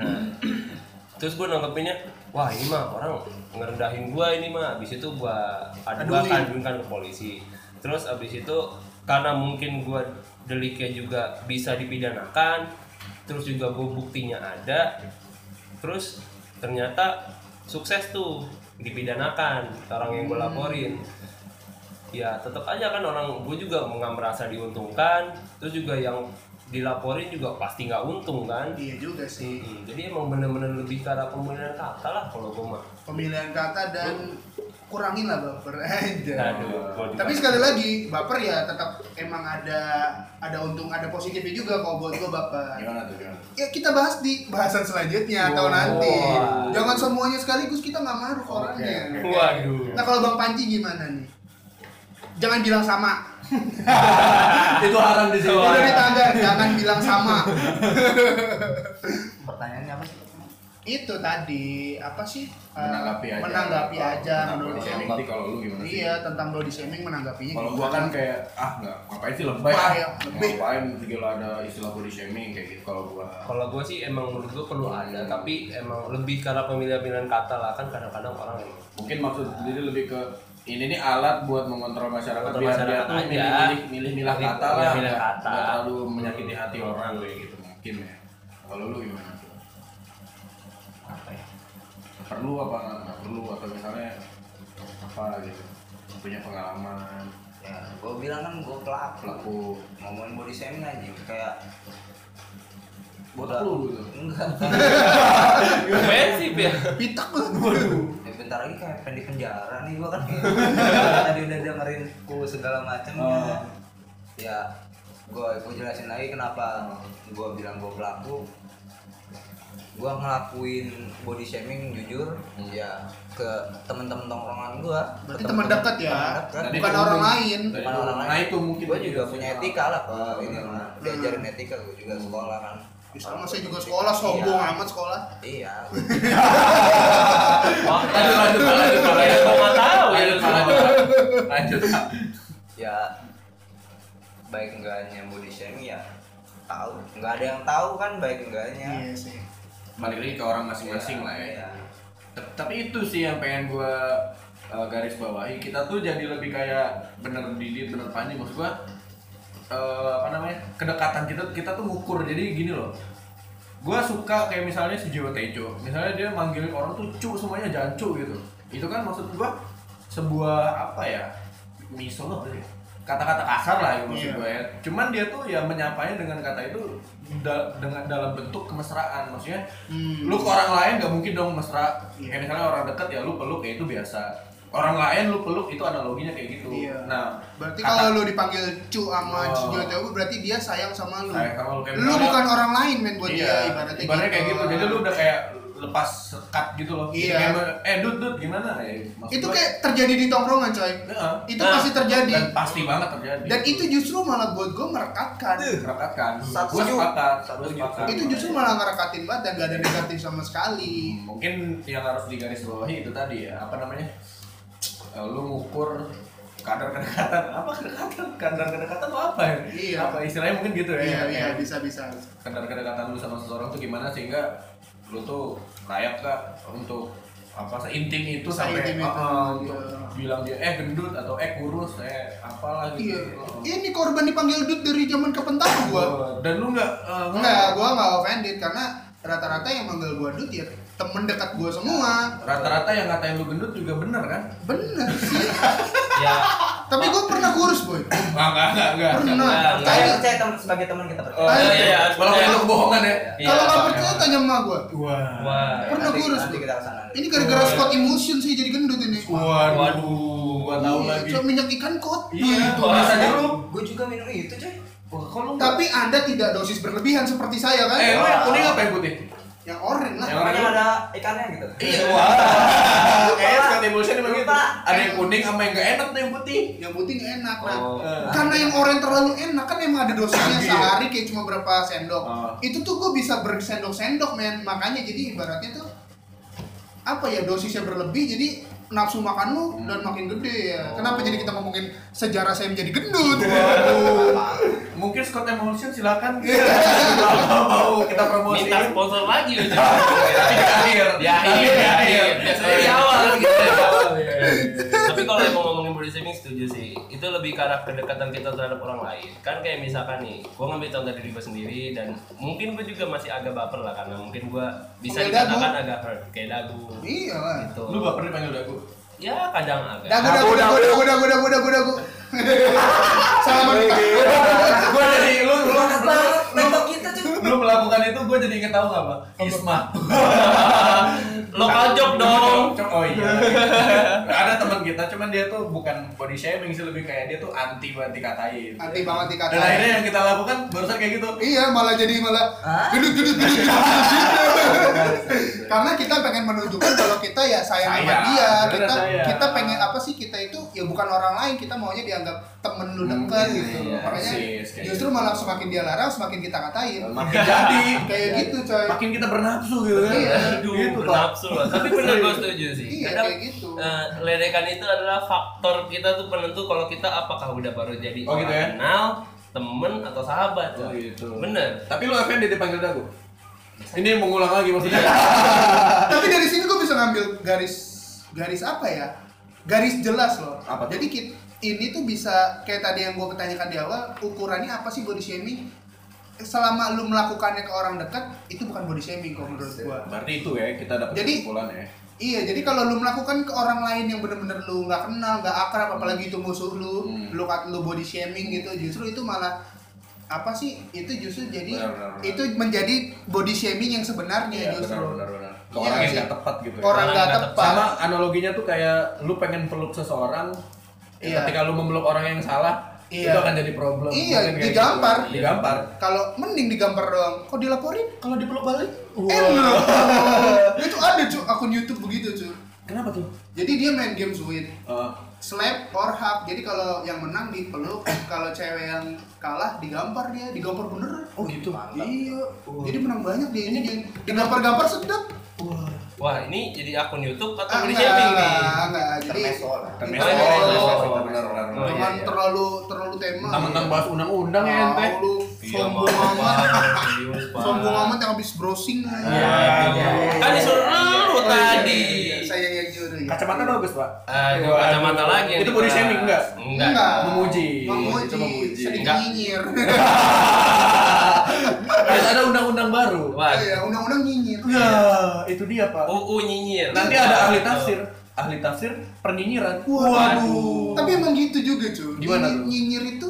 [SPEAKER 3] Nah, terus gue nanggepinnya, wah ini mah orang ngerendahin gue ini mah. Abis itu gue adukan,
[SPEAKER 1] Aduin.
[SPEAKER 3] adukan ke polisi. Terus abis itu karena mungkin gue deliknya juga bisa dipidanakan, terus juga gue buktinya ada, terus ternyata sukses tuh dipidanakan orang yang
[SPEAKER 1] Hmm.
[SPEAKER 3] gue laporin ya tetap aja kan orang gue juga nggak merasa diuntungkan terus juga yang dilaporin juga pasti nggak untung kan
[SPEAKER 1] Iya juga sih.
[SPEAKER 3] Hmm, jadi emang bener-bener lebih ke arah pemilihan kata lah kalau gue mah
[SPEAKER 1] Pemilihan kata dan kurangin lah baper
[SPEAKER 2] Nah,
[SPEAKER 1] aja.
[SPEAKER 3] aduh gua juga-
[SPEAKER 1] Ya. Tapi sekali lagi baper ya tetap emang ada ada untung ada positifnya juga kalau buat gua baper.
[SPEAKER 2] Gimana tuh? Gimana?
[SPEAKER 1] ya kita bahas di bahasan selanjutnya atau
[SPEAKER 3] Wow.
[SPEAKER 1] nanti jangan semuanya sekaligus kita nggak maruk orangnya
[SPEAKER 2] oke.
[SPEAKER 3] waduh
[SPEAKER 1] nah kalau bang Panji gimana nih jangan bilang sama
[SPEAKER 2] Itu haram di sini.
[SPEAKER 1] udah ditanggar jangan bilang sama
[SPEAKER 4] Pertanyaannya apa sih?
[SPEAKER 1] itu tadi apa sih Eh,
[SPEAKER 2] Menanggapi aja.
[SPEAKER 1] menanggapi aja
[SPEAKER 2] Tentang
[SPEAKER 1] menurut
[SPEAKER 2] body
[SPEAKER 1] saya.
[SPEAKER 2] shaming. Nanti kalau lu gimana sih?
[SPEAKER 1] iya tentang body shaming menanggapinya
[SPEAKER 2] Kalau
[SPEAKER 1] gimana?
[SPEAKER 2] gua kan kayak ah nggak ngapain sih lebay.
[SPEAKER 1] Wah, ya, lebih.
[SPEAKER 2] Ngapain segala ada istilah body shaming kayak gitu kalau gua.
[SPEAKER 3] kalau gue sih emang menurut gue perlu ada tapi emang lebih ke arah pemilihan-pemilihan kata lah kan kadang-kadang orang emang
[SPEAKER 2] Mungkin maksud sendiri lebih ke ini nih alat buat mengontrol masyarakat
[SPEAKER 3] Kontrol
[SPEAKER 2] biar dia
[SPEAKER 3] masyarakat
[SPEAKER 2] tuh
[SPEAKER 3] aja.
[SPEAKER 2] milih-milih milih-milah
[SPEAKER 3] Milih-
[SPEAKER 2] kata lah,
[SPEAKER 3] milih-milih
[SPEAKER 2] nggak-
[SPEAKER 3] kata.
[SPEAKER 2] nggak terlalu menyakiti hati orang kayak gitu mungkin ya. Kalau lu gimana?
[SPEAKER 3] apa ya
[SPEAKER 2] Perlu apa nggak nggak perlu atau misalnya apa gitu punya pengalaman
[SPEAKER 4] Ya, gue bilang kan gue pelaku.
[SPEAKER 2] pelaku
[SPEAKER 4] Ngomongin body shaming aja kayak
[SPEAKER 2] buat lu gitu.
[SPEAKER 4] enggak.
[SPEAKER 3] ofensif ya
[SPEAKER 1] pitak lu
[SPEAKER 4] Ya, bentar lagi kayak pengen di penjara nih gue kan. Kayak Tadi udah dengerin ku segala macam
[SPEAKER 2] Oh.
[SPEAKER 4] ya. Gue gue jelasin lagi kenapa gue bilang gue pelaku. Gue ngelakuin body shaming jujur ya ke temen-temen tongkrongan gue.
[SPEAKER 1] berarti teman dekat ya
[SPEAKER 2] Tadi
[SPEAKER 1] bukan
[SPEAKER 2] itu
[SPEAKER 1] orang
[SPEAKER 2] mungkin-
[SPEAKER 1] lain
[SPEAKER 2] Tadi
[SPEAKER 4] Bukan
[SPEAKER 2] itu-
[SPEAKER 4] orang lain.
[SPEAKER 2] Nah itu mungkin
[SPEAKER 1] gitu
[SPEAKER 4] gue juga punya etika lah
[SPEAKER 2] Ah,
[SPEAKER 1] Oh,
[SPEAKER 4] kalau ini
[SPEAKER 2] benar.
[SPEAKER 1] hmm.
[SPEAKER 4] mah diajarin etika gue juga sekolah kan
[SPEAKER 1] Ya, sama saya juga sekolah sombong amat sekolah
[SPEAKER 4] iya
[SPEAKER 3] Wah,
[SPEAKER 2] Lanjut, Oh, lanjut, lanjut,
[SPEAKER 3] ya,
[SPEAKER 2] lanjut.
[SPEAKER 3] gua nggak tahu ya
[SPEAKER 2] Lanjut, lanjut. Lanjut.
[SPEAKER 4] ya baik enggaknya body shaming ya tahu nggak ada yang tahu kan baik enggaknya
[SPEAKER 1] iya sih
[SPEAKER 2] Balik lagi ke orang masing-masing lah ya.
[SPEAKER 4] Iya.
[SPEAKER 2] T- Tapi itu sih yang pengen gue garis bawahi. Kita tuh jadi lebih kayak bener Didi, bener Panji. Maksud gue apa namanya kedekatan kita kita tuh ngukur jadi gini loh gue suka kayak misalnya si Jiwa Tejo misalnya dia manggilin orang tuh cu semuanya jancu gitu itu kan maksud gue sebuah apa ya miso loh berarti. kata-kata kasar lah yang maksud
[SPEAKER 1] Iya.
[SPEAKER 2] gue ya cuman dia tuh ya menyampaikan dengan kata itu da- dengan dalam bentuk kemesraan maksudnya
[SPEAKER 1] Hmm.
[SPEAKER 2] lu ke orang lain gak mungkin dong mesra
[SPEAKER 1] Iya.
[SPEAKER 2] kayak misalnya orang dekat ya lu peluk ya itu biasa orang lain lu peluk itu analoginya kayak gitu
[SPEAKER 1] Iya.
[SPEAKER 2] nah
[SPEAKER 1] Berarti
[SPEAKER 2] kata-
[SPEAKER 1] kalau lu dipanggil cu sama
[SPEAKER 2] Oh.
[SPEAKER 1] Jiwa Tejo berarti dia sayang sama lu.
[SPEAKER 2] Sayang sama lu, kayak
[SPEAKER 1] lu
[SPEAKER 2] misalnya-
[SPEAKER 1] bukan orang lain men buat dia
[SPEAKER 2] iya,
[SPEAKER 1] ibaratnya,
[SPEAKER 2] kayak gitu jadi lu udah kayak lepas sekat gitu loh
[SPEAKER 1] Iya.
[SPEAKER 2] Kayak, eh dud dud gimana ya maksud
[SPEAKER 1] itu
[SPEAKER 2] gua-
[SPEAKER 1] kayak terjadi di tongkrongan coy.
[SPEAKER 2] Nah,
[SPEAKER 1] Itu
[SPEAKER 3] Nah,
[SPEAKER 1] pasti terjadi.
[SPEAKER 2] dan pasti banget terjadi
[SPEAKER 1] Dan itu justru malah buat gue merekatkan.
[SPEAKER 2] sepakat kan Gua
[SPEAKER 4] Satu setuju.
[SPEAKER 2] sepakat
[SPEAKER 4] Satu
[SPEAKER 2] gua
[SPEAKER 4] setuju.
[SPEAKER 2] sepakat.
[SPEAKER 1] Itu justru malah ngerekatin banget dan gak ada negatif sama sekali.
[SPEAKER 2] Hmm, mungkin yang harus digarisbawahi itu tadi ya apa namanya Eh, lu ngukur kadar kedekatan apa kedekatan kadar kedekatan tuh apa ya
[SPEAKER 1] Iya.
[SPEAKER 2] apa istilahnya mungkin gitu ya
[SPEAKER 1] Iya iya
[SPEAKER 2] Kayak
[SPEAKER 1] bisa bisa.
[SPEAKER 2] kadar kedekatan lu sama seseorang tuh gimana sehingga lu tuh layak gak untuk apa seintim itu sampai
[SPEAKER 1] Seintim itu,
[SPEAKER 2] ah, ah, untuk
[SPEAKER 1] iya.
[SPEAKER 2] bilang dia eh gendut atau eh kurus eh apalah gitu
[SPEAKER 1] Iya.
[SPEAKER 2] Oh.
[SPEAKER 1] Ini korban dipanggil dud dari zaman kepentang gue.
[SPEAKER 2] Oh, dan lu nggak eh,
[SPEAKER 1] Enggak, gue nggak offended karena rata-rata yang manggil gue dud ya temen dekat gue semua.
[SPEAKER 2] rata-rata yang ngatain lu gendut juga bener kan
[SPEAKER 1] Bener sih.
[SPEAKER 3] ya
[SPEAKER 1] Tapi gue pernah kurus boy.
[SPEAKER 2] Wah, enggak enggak enggak
[SPEAKER 1] Pernah.
[SPEAKER 3] Enggak,
[SPEAKER 4] saya
[SPEAKER 1] Tanya-
[SPEAKER 4] Nah, percaya teman sebagai teman kita
[SPEAKER 2] Oh,
[SPEAKER 4] percaya
[SPEAKER 1] Ayo.
[SPEAKER 2] iya, iya, walaupun
[SPEAKER 3] Iya.
[SPEAKER 2] itu kebohongan ya.
[SPEAKER 3] Iya,
[SPEAKER 1] Kalau nggak
[SPEAKER 2] soalnya.
[SPEAKER 1] percaya tanya sama gue.
[SPEAKER 2] Iya, Wah.
[SPEAKER 3] wah
[SPEAKER 4] Ya,
[SPEAKER 1] pernah
[SPEAKER 4] nanti-
[SPEAKER 1] kurus,
[SPEAKER 4] nanti
[SPEAKER 1] Bu.
[SPEAKER 4] kita kesana
[SPEAKER 1] Ini gara-gara Scott Emotion sih jadi gendut ini.
[SPEAKER 2] Waduh, gua tahu
[SPEAKER 1] Iya,
[SPEAKER 2] lagi.
[SPEAKER 1] cuma minyak ikan Nah, kot.
[SPEAKER 2] Iya,
[SPEAKER 3] Itu
[SPEAKER 2] tuh rasa
[SPEAKER 3] rasa
[SPEAKER 2] jeruk.
[SPEAKER 4] gue juga minum itu coy
[SPEAKER 2] Wah, kok lu
[SPEAKER 1] Tapi Anda tidak dosis berlebihan seperti saya kan?
[SPEAKER 2] eh, lu yang kuning apa yang putih?
[SPEAKER 1] Yang orange lah.
[SPEAKER 2] Yang
[SPEAKER 4] namanya
[SPEAKER 2] orang-
[SPEAKER 4] ada ikannya gitu
[SPEAKER 2] Iya, wah. Kayak
[SPEAKER 4] Pak.
[SPEAKER 2] Scott Emulsion emang gitu.
[SPEAKER 4] Lupa.
[SPEAKER 2] Ada yang kuning sama yang gak enak tuh yang putih.
[SPEAKER 1] Yang putih nggak enak lah.
[SPEAKER 3] oh,
[SPEAKER 2] Eh,
[SPEAKER 1] Karena yang orange terlalu enak kan emang ada dosisnya
[SPEAKER 2] Iya.
[SPEAKER 1] sehari kayak cuma berapa sendok.
[SPEAKER 2] Oh.
[SPEAKER 1] Itu tuh gue bisa bersendok-sendok men. Makanya jadi ibaratnya tuh apa ya dosisnya berlebih jadi nafsu makan lu dan makin gede ya. Kenapa jadi kita ngomongin sejarah saya menjadi gendut?
[SPEAKER 2] Iya. Mungkin Scott Emulsion silakan. Kalau mau kita promosi.
[SPEAKER 3] minta sponsor lagi
[SPEAKER 2] Di
[SPEAKER 3] gitu
[SPEAKER 2] akhir.
[SPEAKER 3] di akhir di
[SPEAKER 2] iya,
[SPEAKER 3] akhir iya, biasanya di awal gitu
[SPEAKER 2] Di awal, iya, iya, iya.
[SPEAKER 3] tapi kalau emang ngomongin body shaming setuju sih itu lebih ke arah kedekatan kita terhadap orang lain kan kayak misalkan nih gue ngambil contoh dari gue sendiri dan mungkin gue juga masih agak baper lah karena mungkin gue bisa
[SPEAKER 1] Kayak
[SPEAKER 3] dikatakan agak hurt kayak dagu
[SPEAKER 1] iya lah.
[SPEAKER 3] gitu
[SPEAKER 2] Lu baper dipanggil dagu.
[SPEAKER 3] ya kadang agak
[SPEAKER 1] Dagu dagu dagu dagu dagu dagu dagu dagu. Salam Pak.
[SPEAKER 2] Gua dari lu lu lu, lu, lu melakukan itu gue jadi inget tahu nggak pak Isma
[SPEAKER 3] Lokal joke dong.
[SPEAKER 2] Cok- oh iya ada teman kita cuman dia tuh bukan body shaming sih lebih kayak dia tuh anti banget dikatain
[SPEAKER 1] Anti banget dikatain.
[SPEAKER 2] dan akhirnya yang kita lakukan barusan kayak gitu
[SPEAKER 1] Iya, malah jadi malah
[SPEAKER 4] Hah?
[SPEAKER 1] gedut gedut gedut gedut. Karena kita pengen menunjukkan kalau kita ya sayang sama
[SPEAKER 2] Sayang,
[SPEAKER 1] dia,
[SPEAKER 2] bener
[SPEAKER 1] kita
[SPEAKER 2] sayang.
[SPEAKER 1] kita pengen apa sih kita itu ya bukan orang lain, kita maunya dianggap temen lu deket
[SPEAKER 2] Hmm,
[SPEAKER 1] gitu.
[SPEAKER 2] iya,
[SPEAKER 1] Makanya
[SPEAKER 2] persis, kayak gitu.
[SPEAKER 1] justru malah semakin dia larang, semakin kita katain.
[SPEAKER 2] makin jadi
[SPEAKER 1] Kayak gitu, coy.
[SPEAKER 2] makin kita bernafsu gitu kan
[SPEAKER 1] Iya.
[SPEAKER 2] Aduh,
[SPEAKER 1] Gitu, Pak.
[SPEAKER 2] bernafsu
[SPEAKER 3] Nafsu lah. Tapi bener gue setuju sih.
[SPEAKER 1] Iya,
[SPEAKER 3] Kadang
[SPEAKER 1] kayak gitu.
[SPEAKER 3] eh, ledekan itu adalah faktor kita tuh penentu kalau kita apakah udah baru jadi
[SPEAKER 2] Oh, gitu
[SPEAKER 3] orang
[SPEAKER 2] ya?
[SPEAKER 3] kenal, temen atau sahabat.
[SPEAKER 2] Oh, gitu.
[SPEAKER 3] Bener.
[SPEAKER 2] tapi lu FND dipanggil dagu ini mengulang lagi maksudnya
[SPEAKER 1] Ah, Tapi dari sini gue bisa ngambil garis garis apa ya? Garis jelas loh.
[SPEAKER 2] Apa tuh?
[SPEAKER 1] Jadi kita, ini tuh bisa kayak tadi yang gue pertanyakan di awal, ukurannya apa sih body shaming? Selama lu melakukannya ke orang dekat, itu bukan body shaming kalau menurut gue.
[SPEAKER 2] berarti itu ya kita dapat
[SPEAKER 1] Jadi-
[SPEAKER 2] kesimpulan ya
[SPEAKER 1] Iya, jadi kalau lu melakukan ke orang lain yang bener-bener lu nggak kenal, nggak akrab, apalagi itu musuh lu,
[SPEAKER 2] Hmm.
[SPEAKER 1] lu kat- lu body shaming gitu, justru itu malah apa sih? Itu justru jadi
[SPEAKER 2] Benar, benar, benar.
[SPEAKER 1] itu menjadi body shaming yang sebenarnya
[SPEAKER 2] Iya,
[SPEAKER 1] justru.
[SPEAKER 2] benar benar benar.
[SPEAKER 1] Iya
[SPEAKER 2] Ke orang yang
[SPEAKER 1] sih.
[SPEAKER 2] nggak tepat gitu. ya.
[SPEAKER 1] Orang nggak
[SPEAKER 3] nggak
[SPEAKER 1] tepat.
[SPEAKER 2] Sama analoginya tuh kayak lu pengen peluk seseorang, ya
[SPEAKER 1] Iya.
[SPEAKER 2] ketika lu memeluk orang yang salah,
[SPEAKER 1] Iya.
[SPEAKER 2] itu akan jadi problem.
[SPEAKER 1] Iya,
[SPEAKER 2] Mungkin kayak
[SPEAKER 1] digampar.
[SPEAKER 2] gitu. Digampar.
[SPEAKER 1] Kalau mending digambar doang, kok dilaporin?
[SPEAKER 2] Kalau dipeluk balik,
[SPEAKER 1] Enak. itu ada cu, akun YouTube begitu cu.
[SPEAKER 2] kenapa tuh?
[SPEAKER 1] Jadi dia main games with
[SPEAKER 2] Eh,
[SPEAKER 1] slap or hug. Jadi kalau yang menang dipeluk, kalau cewek yang kalah digampar dia, digampar beneran.
[SPEAKER 2] oh gitu.
[SPEAKER 1] Iya. Jadi menang banyak dia ini dia digampar-gampar sedap.
[SPEAKER 3] Wah ini jadi akun YouTube atau
[SPEAKER 1] Ah,
[SPEAKER 3] body
[SPEAKER 1] enggak,
[SPEAKER 3] shaming nih?
[SPEAKER 1] enggak, enggak. Jadi
[SPEAKER 4] Termesol lah.
[SPEAKER 2] Termesol,
[SPEAKER 1] Oh,
[SPEAKER 2] termesol,
[SPEAKER 3] oh,
[SPEAKER 2] benar, benar, benar.
[SPEAKER 3] oh,
[SPEAKER 1] Jangan
[SPEAKER 3] iya, iya.
[SPEAKER 1] terlalu terlalu tema.
[SPEAKER 2] Mentang-mentang bahas undang-undang
[SPEAKER 1] Iya.
[SPEAKER 2] ya ente.
[SPEAKER 1] Tahu lu
[SPEAKER 3] Iya,
[SPEAKER 1] sombong amat.
[SPEAKER 3] serius, Pak.
[SPEAKER 1] Sombong amat yang habis browsing.
[SPEAKER 2] iya.
[SPEAKER 3] Kan disuruh lu
[SPEAKER 1] Oh, iya,
[SPEAKER 3] tadi.
[SPEAKER 1] iya, iya. Saya yang juru ya.
[SPEAKER 2] Kacamata bagus, Pak.
[SPEAKER 3] Aduh,
[SPEAKER 2] Waduh.
[SPEAKER 3] kacamata lagi. yang
[SPEAKER 2] Itu body
[SPEAKER 3] dibahas.
[SPEAKER 2] shaming enggak?
[SPEAKER 3] Enggak.
[SPEAKER 2] Memuji. Itu
[SPEAKER 1] memuji,
[SPEAKER 2] memuji.
[SPEAKER 1] sedikit
[SPEAKER 3] Enggak.
[SPEAKER 1] nyinyir.
[SPEAKER 2] Harus ada undang-undang baru.
[SPEAKER 3] Wah,
[SPEAKER 1] Iya, undang-undang nyinyir.
[SPEAKER 2] Ya, itu dia, Pak.
[SPEAKER 1] Oh,
[SPEAKER 3] UU nyinyir.
[SPEAKER 2] Nanti
[SPEAKER 1] iya.
[SPEAKER 2] ada ahli tafsir. Ahli tafsir penyinyiran.
[SPEAKER 1] Tapi emang gitu juga, cuy.
[SPEAKER 2] Gimana
[SPEAKER 1] Nyinyir,
[SPEAKER 2] tuh?
[SPEAKER 1] nyinyir itu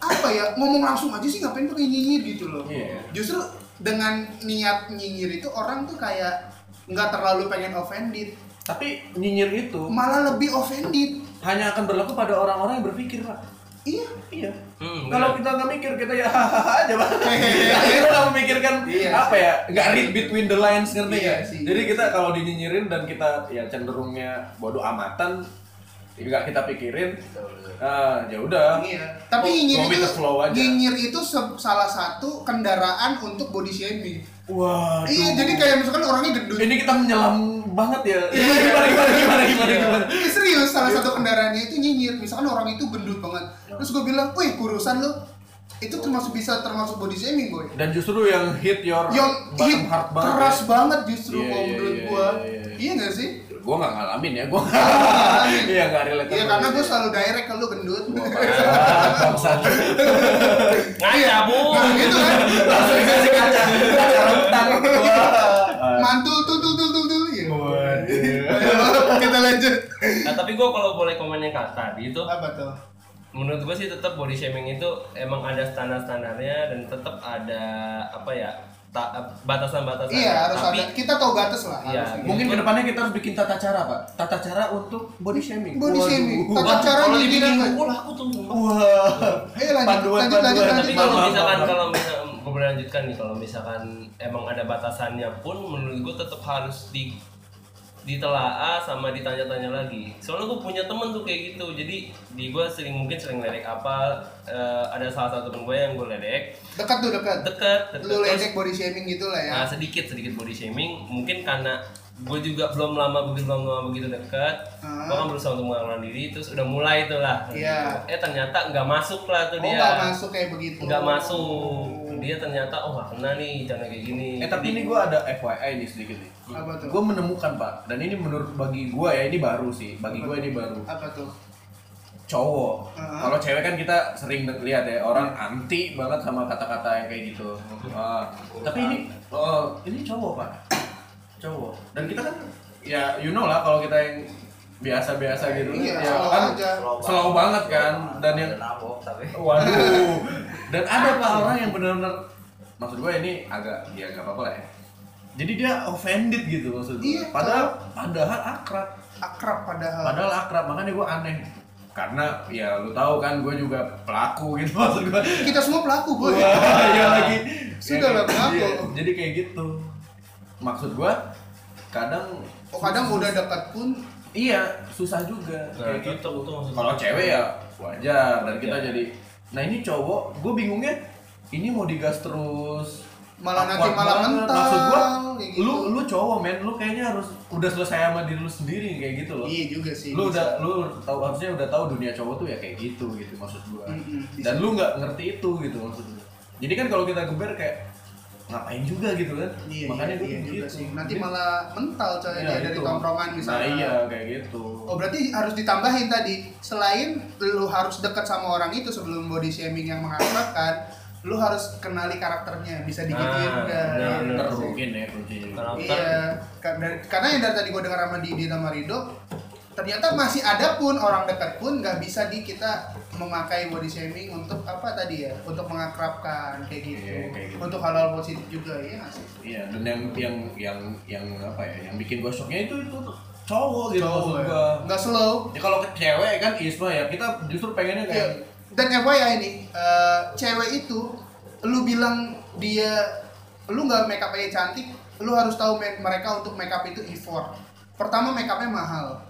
[SPEAKER 1] apa ya? Ngomong langsung aja sih ngapain pakai nyinyir gitu loh.
[SPEAKER 2] Iya.
[SPEAKER 1] Justru dengan niat nyinyir itu orang tuh kayak nggak terlalu pengen offended,
[SPEAKER 2] Tapi nyinyir itu
[SPEAKER 1] malah lebih offended.
[SPEAKER 2] hanya akan berlaku pada orang-orang yang berpikir, Pak.
[SPEAKER 1] Iya.
[SPEAKER 2] Iya.
[SPEAKER 3] Hmm,
[SPEAKER 2] Kalau kita nggak mikir, kita ya hahaha aja, Pak. Akhirnya nggak memikirkan
[SPEAKER 1] Iya
[SPEAKER 2] apa ya, nggak read between the lines, ngerti
[SPEAKER 1] Iya
[SPEAKER 2] nggak?
[SPEAKER 1] sih.
[SPEAKER 2] Jadi kita kalau dinyinyirin dan kita ya cenderungnya bodoh amatan, ya nggak kita pikirin, ah ya udah.
[SPEAKER 1] Iya. Tapi
[SPEAKER 2] Go-
[SPEAKER 1] nyinyir
[SPEAKER 2] go with
[SPEAKER 1] itu
[SPEAKER 2] the flow aja.
[SPEAKER 1] nyinyir itu se- salah satu kendaraan untuk body shaming.
[SPEAKER 2] Waduh.
[SPEAKER 1] Iya, jadi kayak Iya. misalkan orangnya gendut.
[SPEAKER 2] ini kita menyelam banget ya. Gimana gimana gimana gimana gimana. Iya.
[SPEAKER 1] Eh, serius salah satu kendaraannya itu nyinyir misalkan orang itu gendut banget terus gue bilang wih kurusan lu itu termasuk bisa termasuk body shaming boy
[SPEAKER 2] Dan justru yang hit your,
[SPEAKER 1] yang
[SPEAKER 2] bottom
[SPEAKER 1] hit
[SPEAKER 2] heart banget.
[SPEAKER 1] keras banget justru
[SPEAKER 2] Iya,
[SPEAKER 1] kalau
[SPEAKER 2] iya,
[SPEAKER 1] menurut
[SPEAKER 2] iya,
[SPEAKER 1] gue
[SPEAKER 2] iya, iya.
[SPEAKER 1] iya nggak sih
[SPEAKER 2] Gue nggak ngalamin ya, gue
[SPEAKER 1] ngalamin.
[SPEAKER 2] Iya nggak relate.
[SPEAKER 1] iya karena gue selalu direct kalau lu gendut
[SPEAKER 2] Oh, iya. bangsa.
[SPEAKER 3] Ngaca, Bu.
[SPEAKER 1] nah gitu kan
[SPEAKER 2] Langsung dikasih kaca, kaca rentan.
[SPEAKER 1] Iya.
[SPEAKER 2] Ah,
[SPEAKER 1] mantul tul tul tul tul tul iya
[SPEAKER 2] Waduh.
[SPEAKER 1] Ayo, kita lanjut
[SPEAKER 3] Nah, tapi gua kalau boleh komen yang kata tadi itu
[SPEAKER 1] apa tuh
[SPEAKER 3] menurut gue sih tetap body shaming itu emang ada standar-standarnya dan tetap ada apa ya ta- batasan-batasan.
[SPEAKER 1] iya harus
[SPEAKER 3] tapi,
[SPEAKER 1] ada kita tahu batas lah
[SPEAKER 3] Iya.
[SPEAKER 1] harusnya.
[SPEAKER 2] Mungkin kedepannya kita harus bikin tata cara, Pak. Tata cara untuk body shaming.
[SPEAKER 1] Body
[SPEAKER 2] Waduh.
[SPEAKER 1] shaming. Tata
[SPEAKER 2] Wah,
[SPEAKER 1] cara
[SPEAKER 2] kalau
[SPEAKER 1] nyinyir
[SPEAKER 2] dibikin
[SPEAKER 1] apa?
[SPEAKER 2] buku lah.
[SPEAKER 3] aku tuh.
[SPEAKER 2] Wah.
[SPEAKER 1] Ayo lanjut, lanjut, lanjut, lanjut.
[SPEAKER 3] Tapi kalau
[SPEAKER 2] Maaf,
[SPEAKER 3] misalkan
[SPEAKER 2] maaf.
[SPEAKER 3] kalau misalkan gue boleh lanjutkan nih kalau misalkan emang ada batasannya pun menurut gue tetap harus di ditelaah sama ditanya-tanya lagi. Soalnya gue punya temen tuh kayak gitu. Jadi di gue sering mungkin sering ledek apa eh, ada salah satu temen gue yang gue ledek
[SPEAKER 1] dekat tuh dekat
[SPEAKER 3] deket, deket
[SPEAKER 1] lu
[SPEAKER 3] Terus
[SPEAKER 1] ledek body shaming gitu lah ya
[SPEAKER 3] Nah, sedikit sedikit body shaming mungkin karena gue juga belum lama begitu belum lama begitu dekat
[SPEAKER 1] Ah.
[SPEAKER 3] gue kan berusaha untuk mengenal diri terus udah mulai tuh lah
[SPEAKER 1] Iya.
[SPEAKER 3] eh ternyata nggak masuk lah
[SPEAKER 1] oh
[SPEAKER 3] tuh dia
[SPEAKER 1] nggak masuk kayak begitu
[SPEAKER 3] nggak masuk dia ternyata oh nggak kena nih cara kayak gini
[SPEAKER 2] Eh tapi ini gue ada FYI nih sedikit nih.
[SPEAKER 1] apa tuh
[SPEAKER 2] Gue menemukan Pak, dan ini menurut bagi gue ya ini baru sih, bagi gue ini baru.
[SPEAKER 1] apa tuh
[SPEAKER 2] cowok.
[SPEAKER 1] Heeh.
[SPEAKER 2] Kalau cewek kan kita sering lihat ya orang anti banget sama kata-kata yang kayak gitu. Ah, tapi ini eh, ini cowok pak, cowok. Dan kita kan ya you know lah kalau kita yang biasa-biasa gitu
[SPEAKER 1] Iya,
[SPEAKER 2] ya
[SPEAKER 1] slow
[SPEAKER 2] kan
[SPEAKER 1] aja.
[SPEAKER 2] slow banget kan dan yang
[SPEAKER 4] Ada nabok tapi
[SPEAKER 2] waduh dan ada pak orang yang benar-benar maksud gue ini agak ya nggak apa-apa lah ya jadi dia offended gitu maksud gue
[SPEAKER 1] Iya,
[SPEAKER 2] padahal padahal akrab
[SPEAKER 1] akrab padahal.
[SPEAKER 2] padahal akrab makanya gue aneh karena ya lu tahu kan gue juga pelaku gitu maksud gue
[SPEAKER 1] Kita semua pelaku gue.
[SPEAKER 2] Wah, ya lagi.
[SPEAKER 1] Sudah lah, pelaku.
[SPEAKER 2] Iya, Jadi kayak gitu. Maksud gua kadang
[SPEAKER 1] Oh, kadang udah dekat pun
[SPEAKER 2] iya susah juga
[SPEAKER 5] Nah,
[SPEAKER 2] kayak gitu.
[SPEAKER 5] cocok tuh maksudnya.
[SPEAKER 2] Kalau cewek ya wajar dan kita jadi Nah, ini cowok, gue bingungnya ini mau digas terus
[SPEAKER 1] Malah
[SPEAKER 2] Kuat
[SPEAKER 1] nanti malah
[SPEAKER 2] banget.
[SPEAKER 1] mental,
[SPEAKER 2] Maksud gua,
[SPEAKER 1] kayak gitu.
[SPEAKER 2] lu lu cowok men, lu kayaknya harus udah selesai sama diri lu sendiri kayak gitu loh.
[SPEAKER 1] iya juga sih. bisa.
[SPEAKER 2] Lu udah lu tahu harusnya udah tahu dunia cowok tuh ya kayak gitu gitu maksud gua.
[SPEAKER 1] Mm-mm, bisa.
[SPEAKER 2] dan lu nggak ngerti itu gitu maksudnya jadi kan kalau kita geber kayak ngapain juga gitu kan
[SPEAKER 1] Iya,
[SPEAKER 2] makanya
[SPEAKER 1] iya,
[SPEAKER 2] gue
[SPEAKER 1] iya juga
[SPEAKER 2] gitu
[SPEAKER 1] sih. Nanti
[SPEAKER 2] Jadi-
[SPEAKER 1] malah mental coy
[SPEAKER 2] Iya,
[SPEAKER 1] dia dari
[SPEAKER 2] gitu.
[SPEAKER 1] tongkrongan misalnya.
[SPEAKER 2] nah, iya kayak gitu
[SPEAKER 1] Oh berarti harus ditambahin tadi selain lu harus dekat sama orang itu sebelum body shaming yang mengakrabkan, lu harus kenali karakternya bisa digituin
[SPEAKER 5] Nah,
[SPEAKER 1] udah.
[SPEAKER 5] benar,
[SPEAKER 1] Iya.
[SPEAKER 2] Ntar mungkin ya kuncinya
[SPEAKER 5] Kalau-
[SPEAKER 1] Iya, ka- dari- karena yang dari tadi gue dengar sama Didi sama Rido, ternyata masih ada pun orang dekat pun nggak bisa di kita memakai body shaming untuk apa tadi ya, untuk mengakrabkan kayak gitu,
[SPEAKER 2] Iya, kayak gitu.
[SPEAKER 1] untuk hal-hal positif juga ya nggak sih.
[SPEAKER 2] iya dan yang yang yang yang apa ya yang bikin gue shocknya itu itu tuh cowok gitu maksud
[SPEAKER 1] Cowok
[SPEAKER 2] gua.
[SPEAKER 1] ya. nggak slow.
[SPEAKER 2] ya kalau ke cewek kan isma ya kita justru pengennya kayak
[SPEAKER 1] Iya. Dan FYI nih, eh, cewek itu lu bilang dia lu nggak make up-nya cantik, lu harus tahu me- mereka untuk make up itu effort. Pertama make up-nya mahal.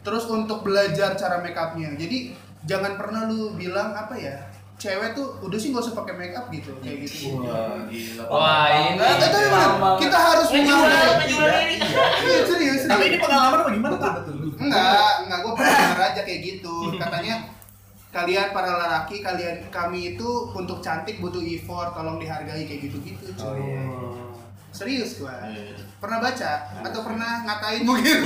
[SPEAKER 1] Terus untuk belajar cara make up-nya. Jadi jangan pernah lu bilang apa ya? Cewek tuh udah sih gak usah pakai make up gitu kayak gitu.
[SPEAKER 2] Iya. wah gila
[SPEAKER 5] Wah ini.
[SPEAKER 1] Nah,
[SPEAKER 4] iya,
[SPEAKER 1] itu bener. Kita harus
[SPEAKER 5] Ngejual,
[SPEAKER 1] mengalir.
[SPEAKER 5] ngejual diri.
[SPEAKER 1] Iya, serius,
[SPEAKER 2] tapi
[SPEAKER 1] serius.
[SPEAKER 2] ini pengalaman apa gimana pak
[SPEAKER 1] Enggak, enggak gue pernah denger aja kayak gitu. Katanya kalian para lelaki, kalian kami itu untuk cantik butuh effort, tolong dihargai kayak gitu-gitu. cuy.
[SPEAKER 4] Oh, iya.
[SPEAKER 1] Serius gua.
[SPEAKER 2] Iya.
[SPEAKER 1] Pernah baca atau pernah ngatain mungkin.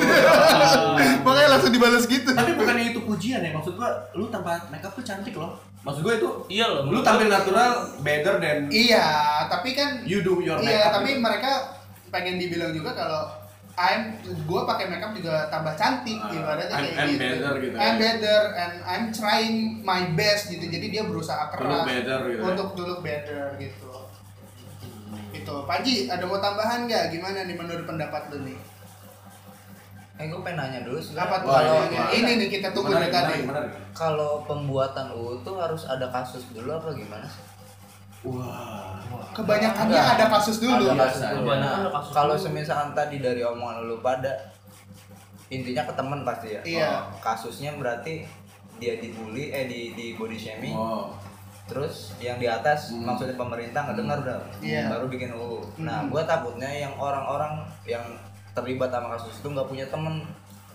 [SPEAKER 1] Makanya langsung dibales gitu.
[SPEAKER 2] tapi bukannya itu pujian ya maksud gua lu tanpa makeup tuh cantik loh maksud gua itu
[SPEAKER 5] Iya loh.
[SPEAKER 2] lu tampil natural better than
[SPEAKER 1] Iya, tapi kan
[SPEAKER 2] you do your
[SPEAKER 1] iya,
[SPEAKER 2] makeup Gitu.
[SPEAKER 1] tapi mereka pengen dibilang juga kalau I'm gue pakai makeup juga tambah cantik
[SPEAKER 2] Ah,
[SPEAKER 1] ibaratnya
[SPEAKER 2] I'm-
[SPEAKER 1] kayak
[SPEAKER 2] I'm
[SPEAKER 1] gitu.
[SPEAKER 2] better gitu
[SPEAKER 1] I'm
[SPEAKER 2] ya.
[SPEAKER 1] better and I'm trying my best gitu. Jadi dia berusaha
[SPEAKER 2] To
[SPEAKER 1] keras.
[SPEAKER 2] look better gitu ya.
[SPEAKER 1] Untuk to look better gitu. Itu. Panji, ada mau tambahan nggak? Gimana nih menurut pendapat lu nih?
[SPEAKER 4] eh gue pengen nanya dulu sebenarnya. iya.
[SPEAKER 1] Apa tuh?
[SPEAKER 2] Wah,
[SPEAKER 1] kalau
[SPEAKER 2] ini
[SPEAKER 1] ini,
[SPEAKER 2] gimana?
[SPEAKER 1] nih kita tunggu
[SPEAKER 2] Menarik,
[SPEAKER 1] dari tadi.
[SPEAKER 2] menarik, menarik.
[SPEAKER 4] kalau pembuatan UU tuh harus ada kasus dulu apa gimana sih?
[SPEAKER 2] wah
[SPEAKER 1] Kebanyakannya
[SPEAKER 4] Enggak.
[SPEAKER 1] Iya, ada kasus dulu.
[SPEAKER 4] Ada kasus
[SPEAKER 2] biasa
[SPEAKER 4] dulu.
[SPEAKER 5] aja.
[SPEAKER 4] Nah,
[SPEAKER 5] Ada kasus
[SPEAKER 4] kalau
[SPEAKER 5] dulu.
[SPEAKER 4] semisalkan tadi dari omongan lu pada intinya ke temen pasti ya.
[SPEAKER 1] Iya.
[SPEAKER 4] Oh, kasusnya berarti dia dibully eh di di body shaming.
[SPEAKER 2] oh
[SPEAKER 4] Terus yang di atas
[SPEAKER 2] Hmm.
[SPEAKER 4] maksudnya pemerintah nggak dengar udah
[SPEAKER 1] Iya.
[SPEAKER 4] baru bikin UU.
[SPEAKER 1] Hmm.
[SPEAKER 4] Nah, gua takutnya yang orang-orang yang terlibat sama kasus itu nggak punya temen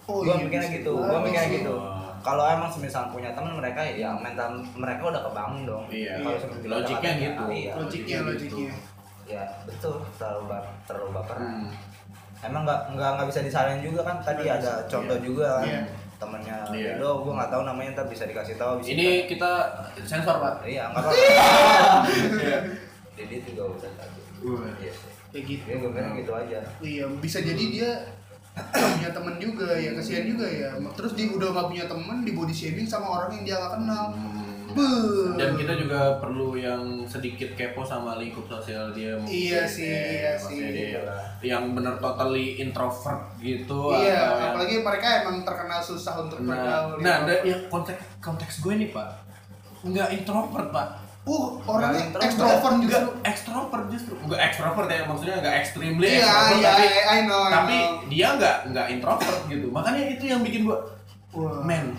[SPEAKER 1] Oh,
[SPEAKER 4] gua
[SPEAKER 1] iya,
[SPEAKER 4] mikirnya
[SPEAKER 1] bisa.
[SPEAKER 4] gitu, gua
[SPEAKER 1] Ah,
[SPEAKER 4] mikirnya
[SPEAKER 1] bisa.
[SPEAKER 4] gitu. Kalau emang semisal punya temen mereka ya mental mereka udah kebangun dong.
[SPEAKER 2] Iya.
[SPEAKER 4] Kalau semisal kita
[SPEAKER 2] Logiknya
[SPEAKER 4] katanya,
[SPEAKER 2] gitu.
[SPEAKER 4] Iya.
[SPEAKER 1] Logiknya, logiknya.
[SPEAKER 4] Ya betul terlalu ba terlalu baperan.
[SPEAKER 2] Hmm.
[SPEAKER 4] Emang nggak nggak nggak bisa disalahin juga kan tadi
[SPEAKER 1] Nggak
[SPEAKER 4] ada
[SPEAKER 1] bisa,
[SPEAKER 4] contoh juga kan
[SPEAKER 1] Iya.
[SPEAKER 4] temennya
[SPEAKER 2] Iya.
[SPEAKER 4] Rido, gua nggak tahu namanya ntar bisa dikasih tahu. abis
[SPEAKER 2] ini kita sensor pak
[SPEAKER 4] kita- iya nggak apa-apa. Jadi juga udah tadi.
[SPEAKER 2] Iya. Wah.
[SPEAKER 4] Iya sih.
[SPEAKER 1] Kayak gitu.
[SPEAKER 4] Jadi gua bilang gitu aja.
[SPEAKER 1] Iya, bisa jadi dia nggak punya temen juga ya, kasihan juga ya. Terus dia udah nggak punya temen di body shaming sama orang yang dia nggak kenal.
[SPEAKER 2] Hmm.
[SPEAKER 1] Beuh.
[SPEAKER 2] dan kita juga perlu yang sedikit kepo sama lingkup sosial dia mungkin Eh,
[SPEAKER 1] Iya sih, iya
[SPEAKER 2] maksudnya
[SPEAKER 1] sih.
[SPEAKER 2] dia yang bener totally introvert gitu
[SPEAKER 1] Iya,
[SPEAKER 2] atau yang-
[SPEAKER 1] apalagi mereka emang terkenal susah untuk gitu.
[SPEAKER 2] nah,
[SPEAKER 1] bergaul. ya.
[SPEAKER 2] nah ada yang konteks konteks gue nih pak nggak introvert pak
[SPEAKER 1] uh orangnya
[SPEAKER 4] Nah,
[SPEAKER 1] ekstrovert juga.
[SPEAKER 2] Enggak ekstrovert justru. Enggak ekstrovert ya maksudnya enggak extremely
[SPEAKER 1] Iya,
[SPEAKER 2] extrovert,
[SPEAKER 1] iya,
[SPEAKER 2] tapi
[SPEAKER 1] I know. I
[SPEAKER 2] tapi
[SPEAKER 1] know.
[SPEAKER 2] dia enggak enggak introvert gitu. Makanya itu yang bikin gua
[SPEAKER 1] Wah.
[SPEAKER 2] men.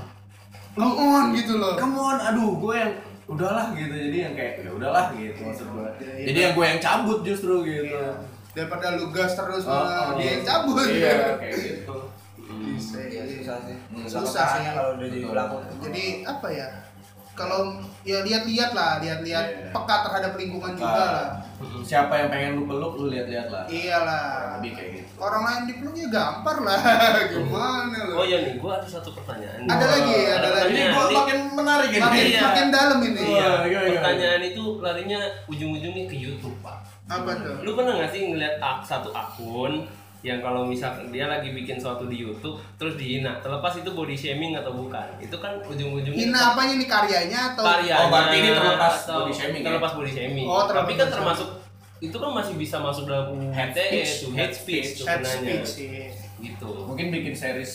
[SPEAKER 1] come on gitu loh.
[SPEAKER 2] Come on, aduh gue yang udahlah gitu. Jadi yang kayak ya udahlah gitu maksud gua.
[SPEAKER 1] Iya, iya.
[SPEAKER 2] Jadi yang gue yang cabut justru gitu.
[SPEAKER 1] Iya. Daripada lu gas terus
[SPEAKER 2] Oh,
[SPEAKER 1] malah
[SPEAKER 2] oh.
[SPEAKER 1] dia yang cabut.
[SPEAKER 2] Iya, kayak gitu.
[SPEAKER 1] Bisa,
[SPEAKER 4] Iya
[SPEAKER 1] iya.
[SPEAKER 4] susah sih.
[SPEAKER 1] Susah.
[SPEAKER 4] lokasinya kalau udah jadi pelaku.
[SPEAKER 1] Jadi apa ya? Kalau ya lihat-lihat lah, lihat-lihat
[SPEAKER 2] Iya.
[SPEAKER 1] peka terhadap lingkungan juga
[SPEAKER 2] Ah,
[SPEAKER 1] lah. Iya.
[SPEAKER 2] siapa yang pengen lu peluk lu lihat-lihat lah.
[SPEAKER 1] Iyalah.
[SPEAKER 2] Lebih kayak gitu.
[SPEAKER 1] Orang lain dipeluk ya gampar lah. Gimana lu?
[SPEAKER 5] Oh iya nih, gua ada satu pertanyaan.
[SPEAKER 1] Ada lagi, ada lagi.
[SPEAKER 2] Ini
[SPEAKER 5] pertanyaan.
[SPEAKER 2] gua makin menarik ini.
[SPEAKER 1] Makin
[SPEAKER 5] Iya.
[SPEAKER 1] makin dalam ini.
[SPEAKER 2] Iya.
[SPEAKER 5] Pertanyaan itu larinya ujung-ujungnya ke YouTube pak.
[SPEAKER 1] Apa tuh?
[SPEAKER 5] Lu pernah nggak sih ngeliat ak- satu akun yang kalau misalkan dia lagi bikin sesuatu di YouTube terus dihina, terlepas itu body shaming atau bukan, itu kan ujung-ujungnya
[SPEAKER 1] Hina apanya nih karyanya atau
[SPEAKER 5] karyanya
[SPEAKER 2] Oh, berarti ini terlepas
[SPEAKER 5] atau
[SPEAKER 2] body shaming ya?
[SPEAKER 5] terlepas body shaming
[SPEAKER 1] Oh, terlepas
[SPEAKER 5] tapi kan
[SPEAKER 1] body
[SPEAKER 5] termasuk
[SPEAKER 3] itu kan masih bisa masuk dalam UU
[SPEAKER 2] Hate
[SPEAKER 3] ITE
[SPEAKER 5] ya,
[SPEAKER 2] speech.
[SPEAKER 3] itu
[SPEAKER 2] Hate
[SPEAKER 3] hate speech tuh
[SPEAKER 1] Head
[SPEAKER 3] sebenarnya
[SPEAKER 1] speech iya. sih.
[SPEAKER 3] gitu
[SPEAKER 2] Mungkin bikin series.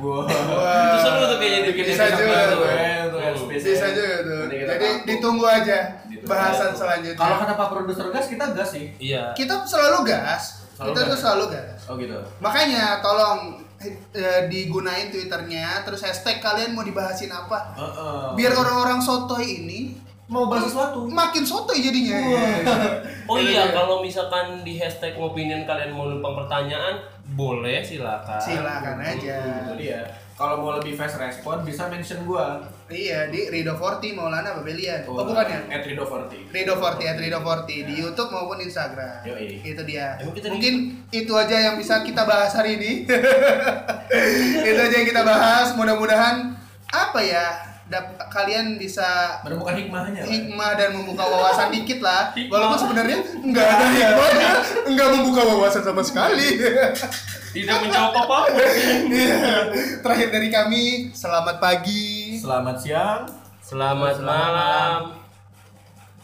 [SPEAKER 2] Wow.
[SPEAKER 1] Wah.
[SPEAKER 3] Itu seru tuh kayaknya bikin
[SPEAKER 1] Bisa
[SPEAKER 3] episode
[SPEAKER 1] juga
[SPEAKER 3] baru.
[SPEAKER 1] tuh.
[SPEAKER 2] eh, Untuk
[SPEAKER 3] Hmm.
[SPEAKER 2] LSPC.
[SPEAKER 1] Bisa juga tuh.
[SPEAKER 2] Nanti kita
[SPEAKER 1] Jadi
[SPEAKER 2] tampung.
[SPEAKER 1] ditunggu aja
[SPEAKER 2] Ditunggu
[SPEAKER 1] bahasan
[SPEAKER 3] aja.
[SPEAKER 1] selanjutnya.
[SPEAKER 2] Kalau kata Pak Produser Gas kita gas sih.
[SPEAKER 3] iya
[SPEAKER 1] kita selalu gas.
[SPEAKER 2] Selalu
[SPEAKER 1] kita
[SPEAKER 2] gas.
[SPEAKER 1] tuh selalu gas.
[SPEAKER 2] Oh gitu.
[SPEAKER 1] Makanya tolong eh, digunain twitternya terus hashtag kalian mau dibahasin apa
[SPEAKER 2] Heeh.
[SPEAKER 1] biar orang-orang sotoy ini
[SPEAKER 2] mau bahas sesuatu.
[SPEAKER 1] makin sotoy jadinya
[SPEAKER 3] Oh iya, kalau misalkan di hashtag opinion kalian mau numpang pertanyaan, boleh silakan.
[SPEAKER 1] silakan
[SPEAKER 3] Hmm,
[SPEAKER 1] aja
[SPEAKER 2] Itu dia. Kalau mau lebih fast respon bisa mention gua.
[SPEAKER 1] iya di Rido Forti Maulana Babelian oh, bukan ya
[SPEAKER 2] At Rido Forti.
[SPEAKER 1] Rido Forti at Rido Forti di YouTube maupun Instagram
[SPEAKER 2] Yoi.
[SPEAKER 1] itu dia
[SPEAKER 3] Emang kita di-
[SPEAKER 1] mungkin itu aja yang bisa kita bahas hari ini itu aja yang kita bahas mudah-mudahan apa ya dap- kalian bisa
[SPEAKER 2] Menemukan hikmahnya. lah.
[SPEAKER 1] hikmah dan membuka wawasan dikit lah walaupun sebenarnya nggak ada hikmahnya nggak membuka wawasan sama sekali
[SPEAKER 3] Tidak menjawab apa-apa.
[SPEAKER 1] Iya. terakhir dari kami selamat pagi
[SPEAKER 2] Selamat siang.
[SPEAKER 3] Selamat,
[SPEAKER 2] Selamat
[SPEAKER 3] malam.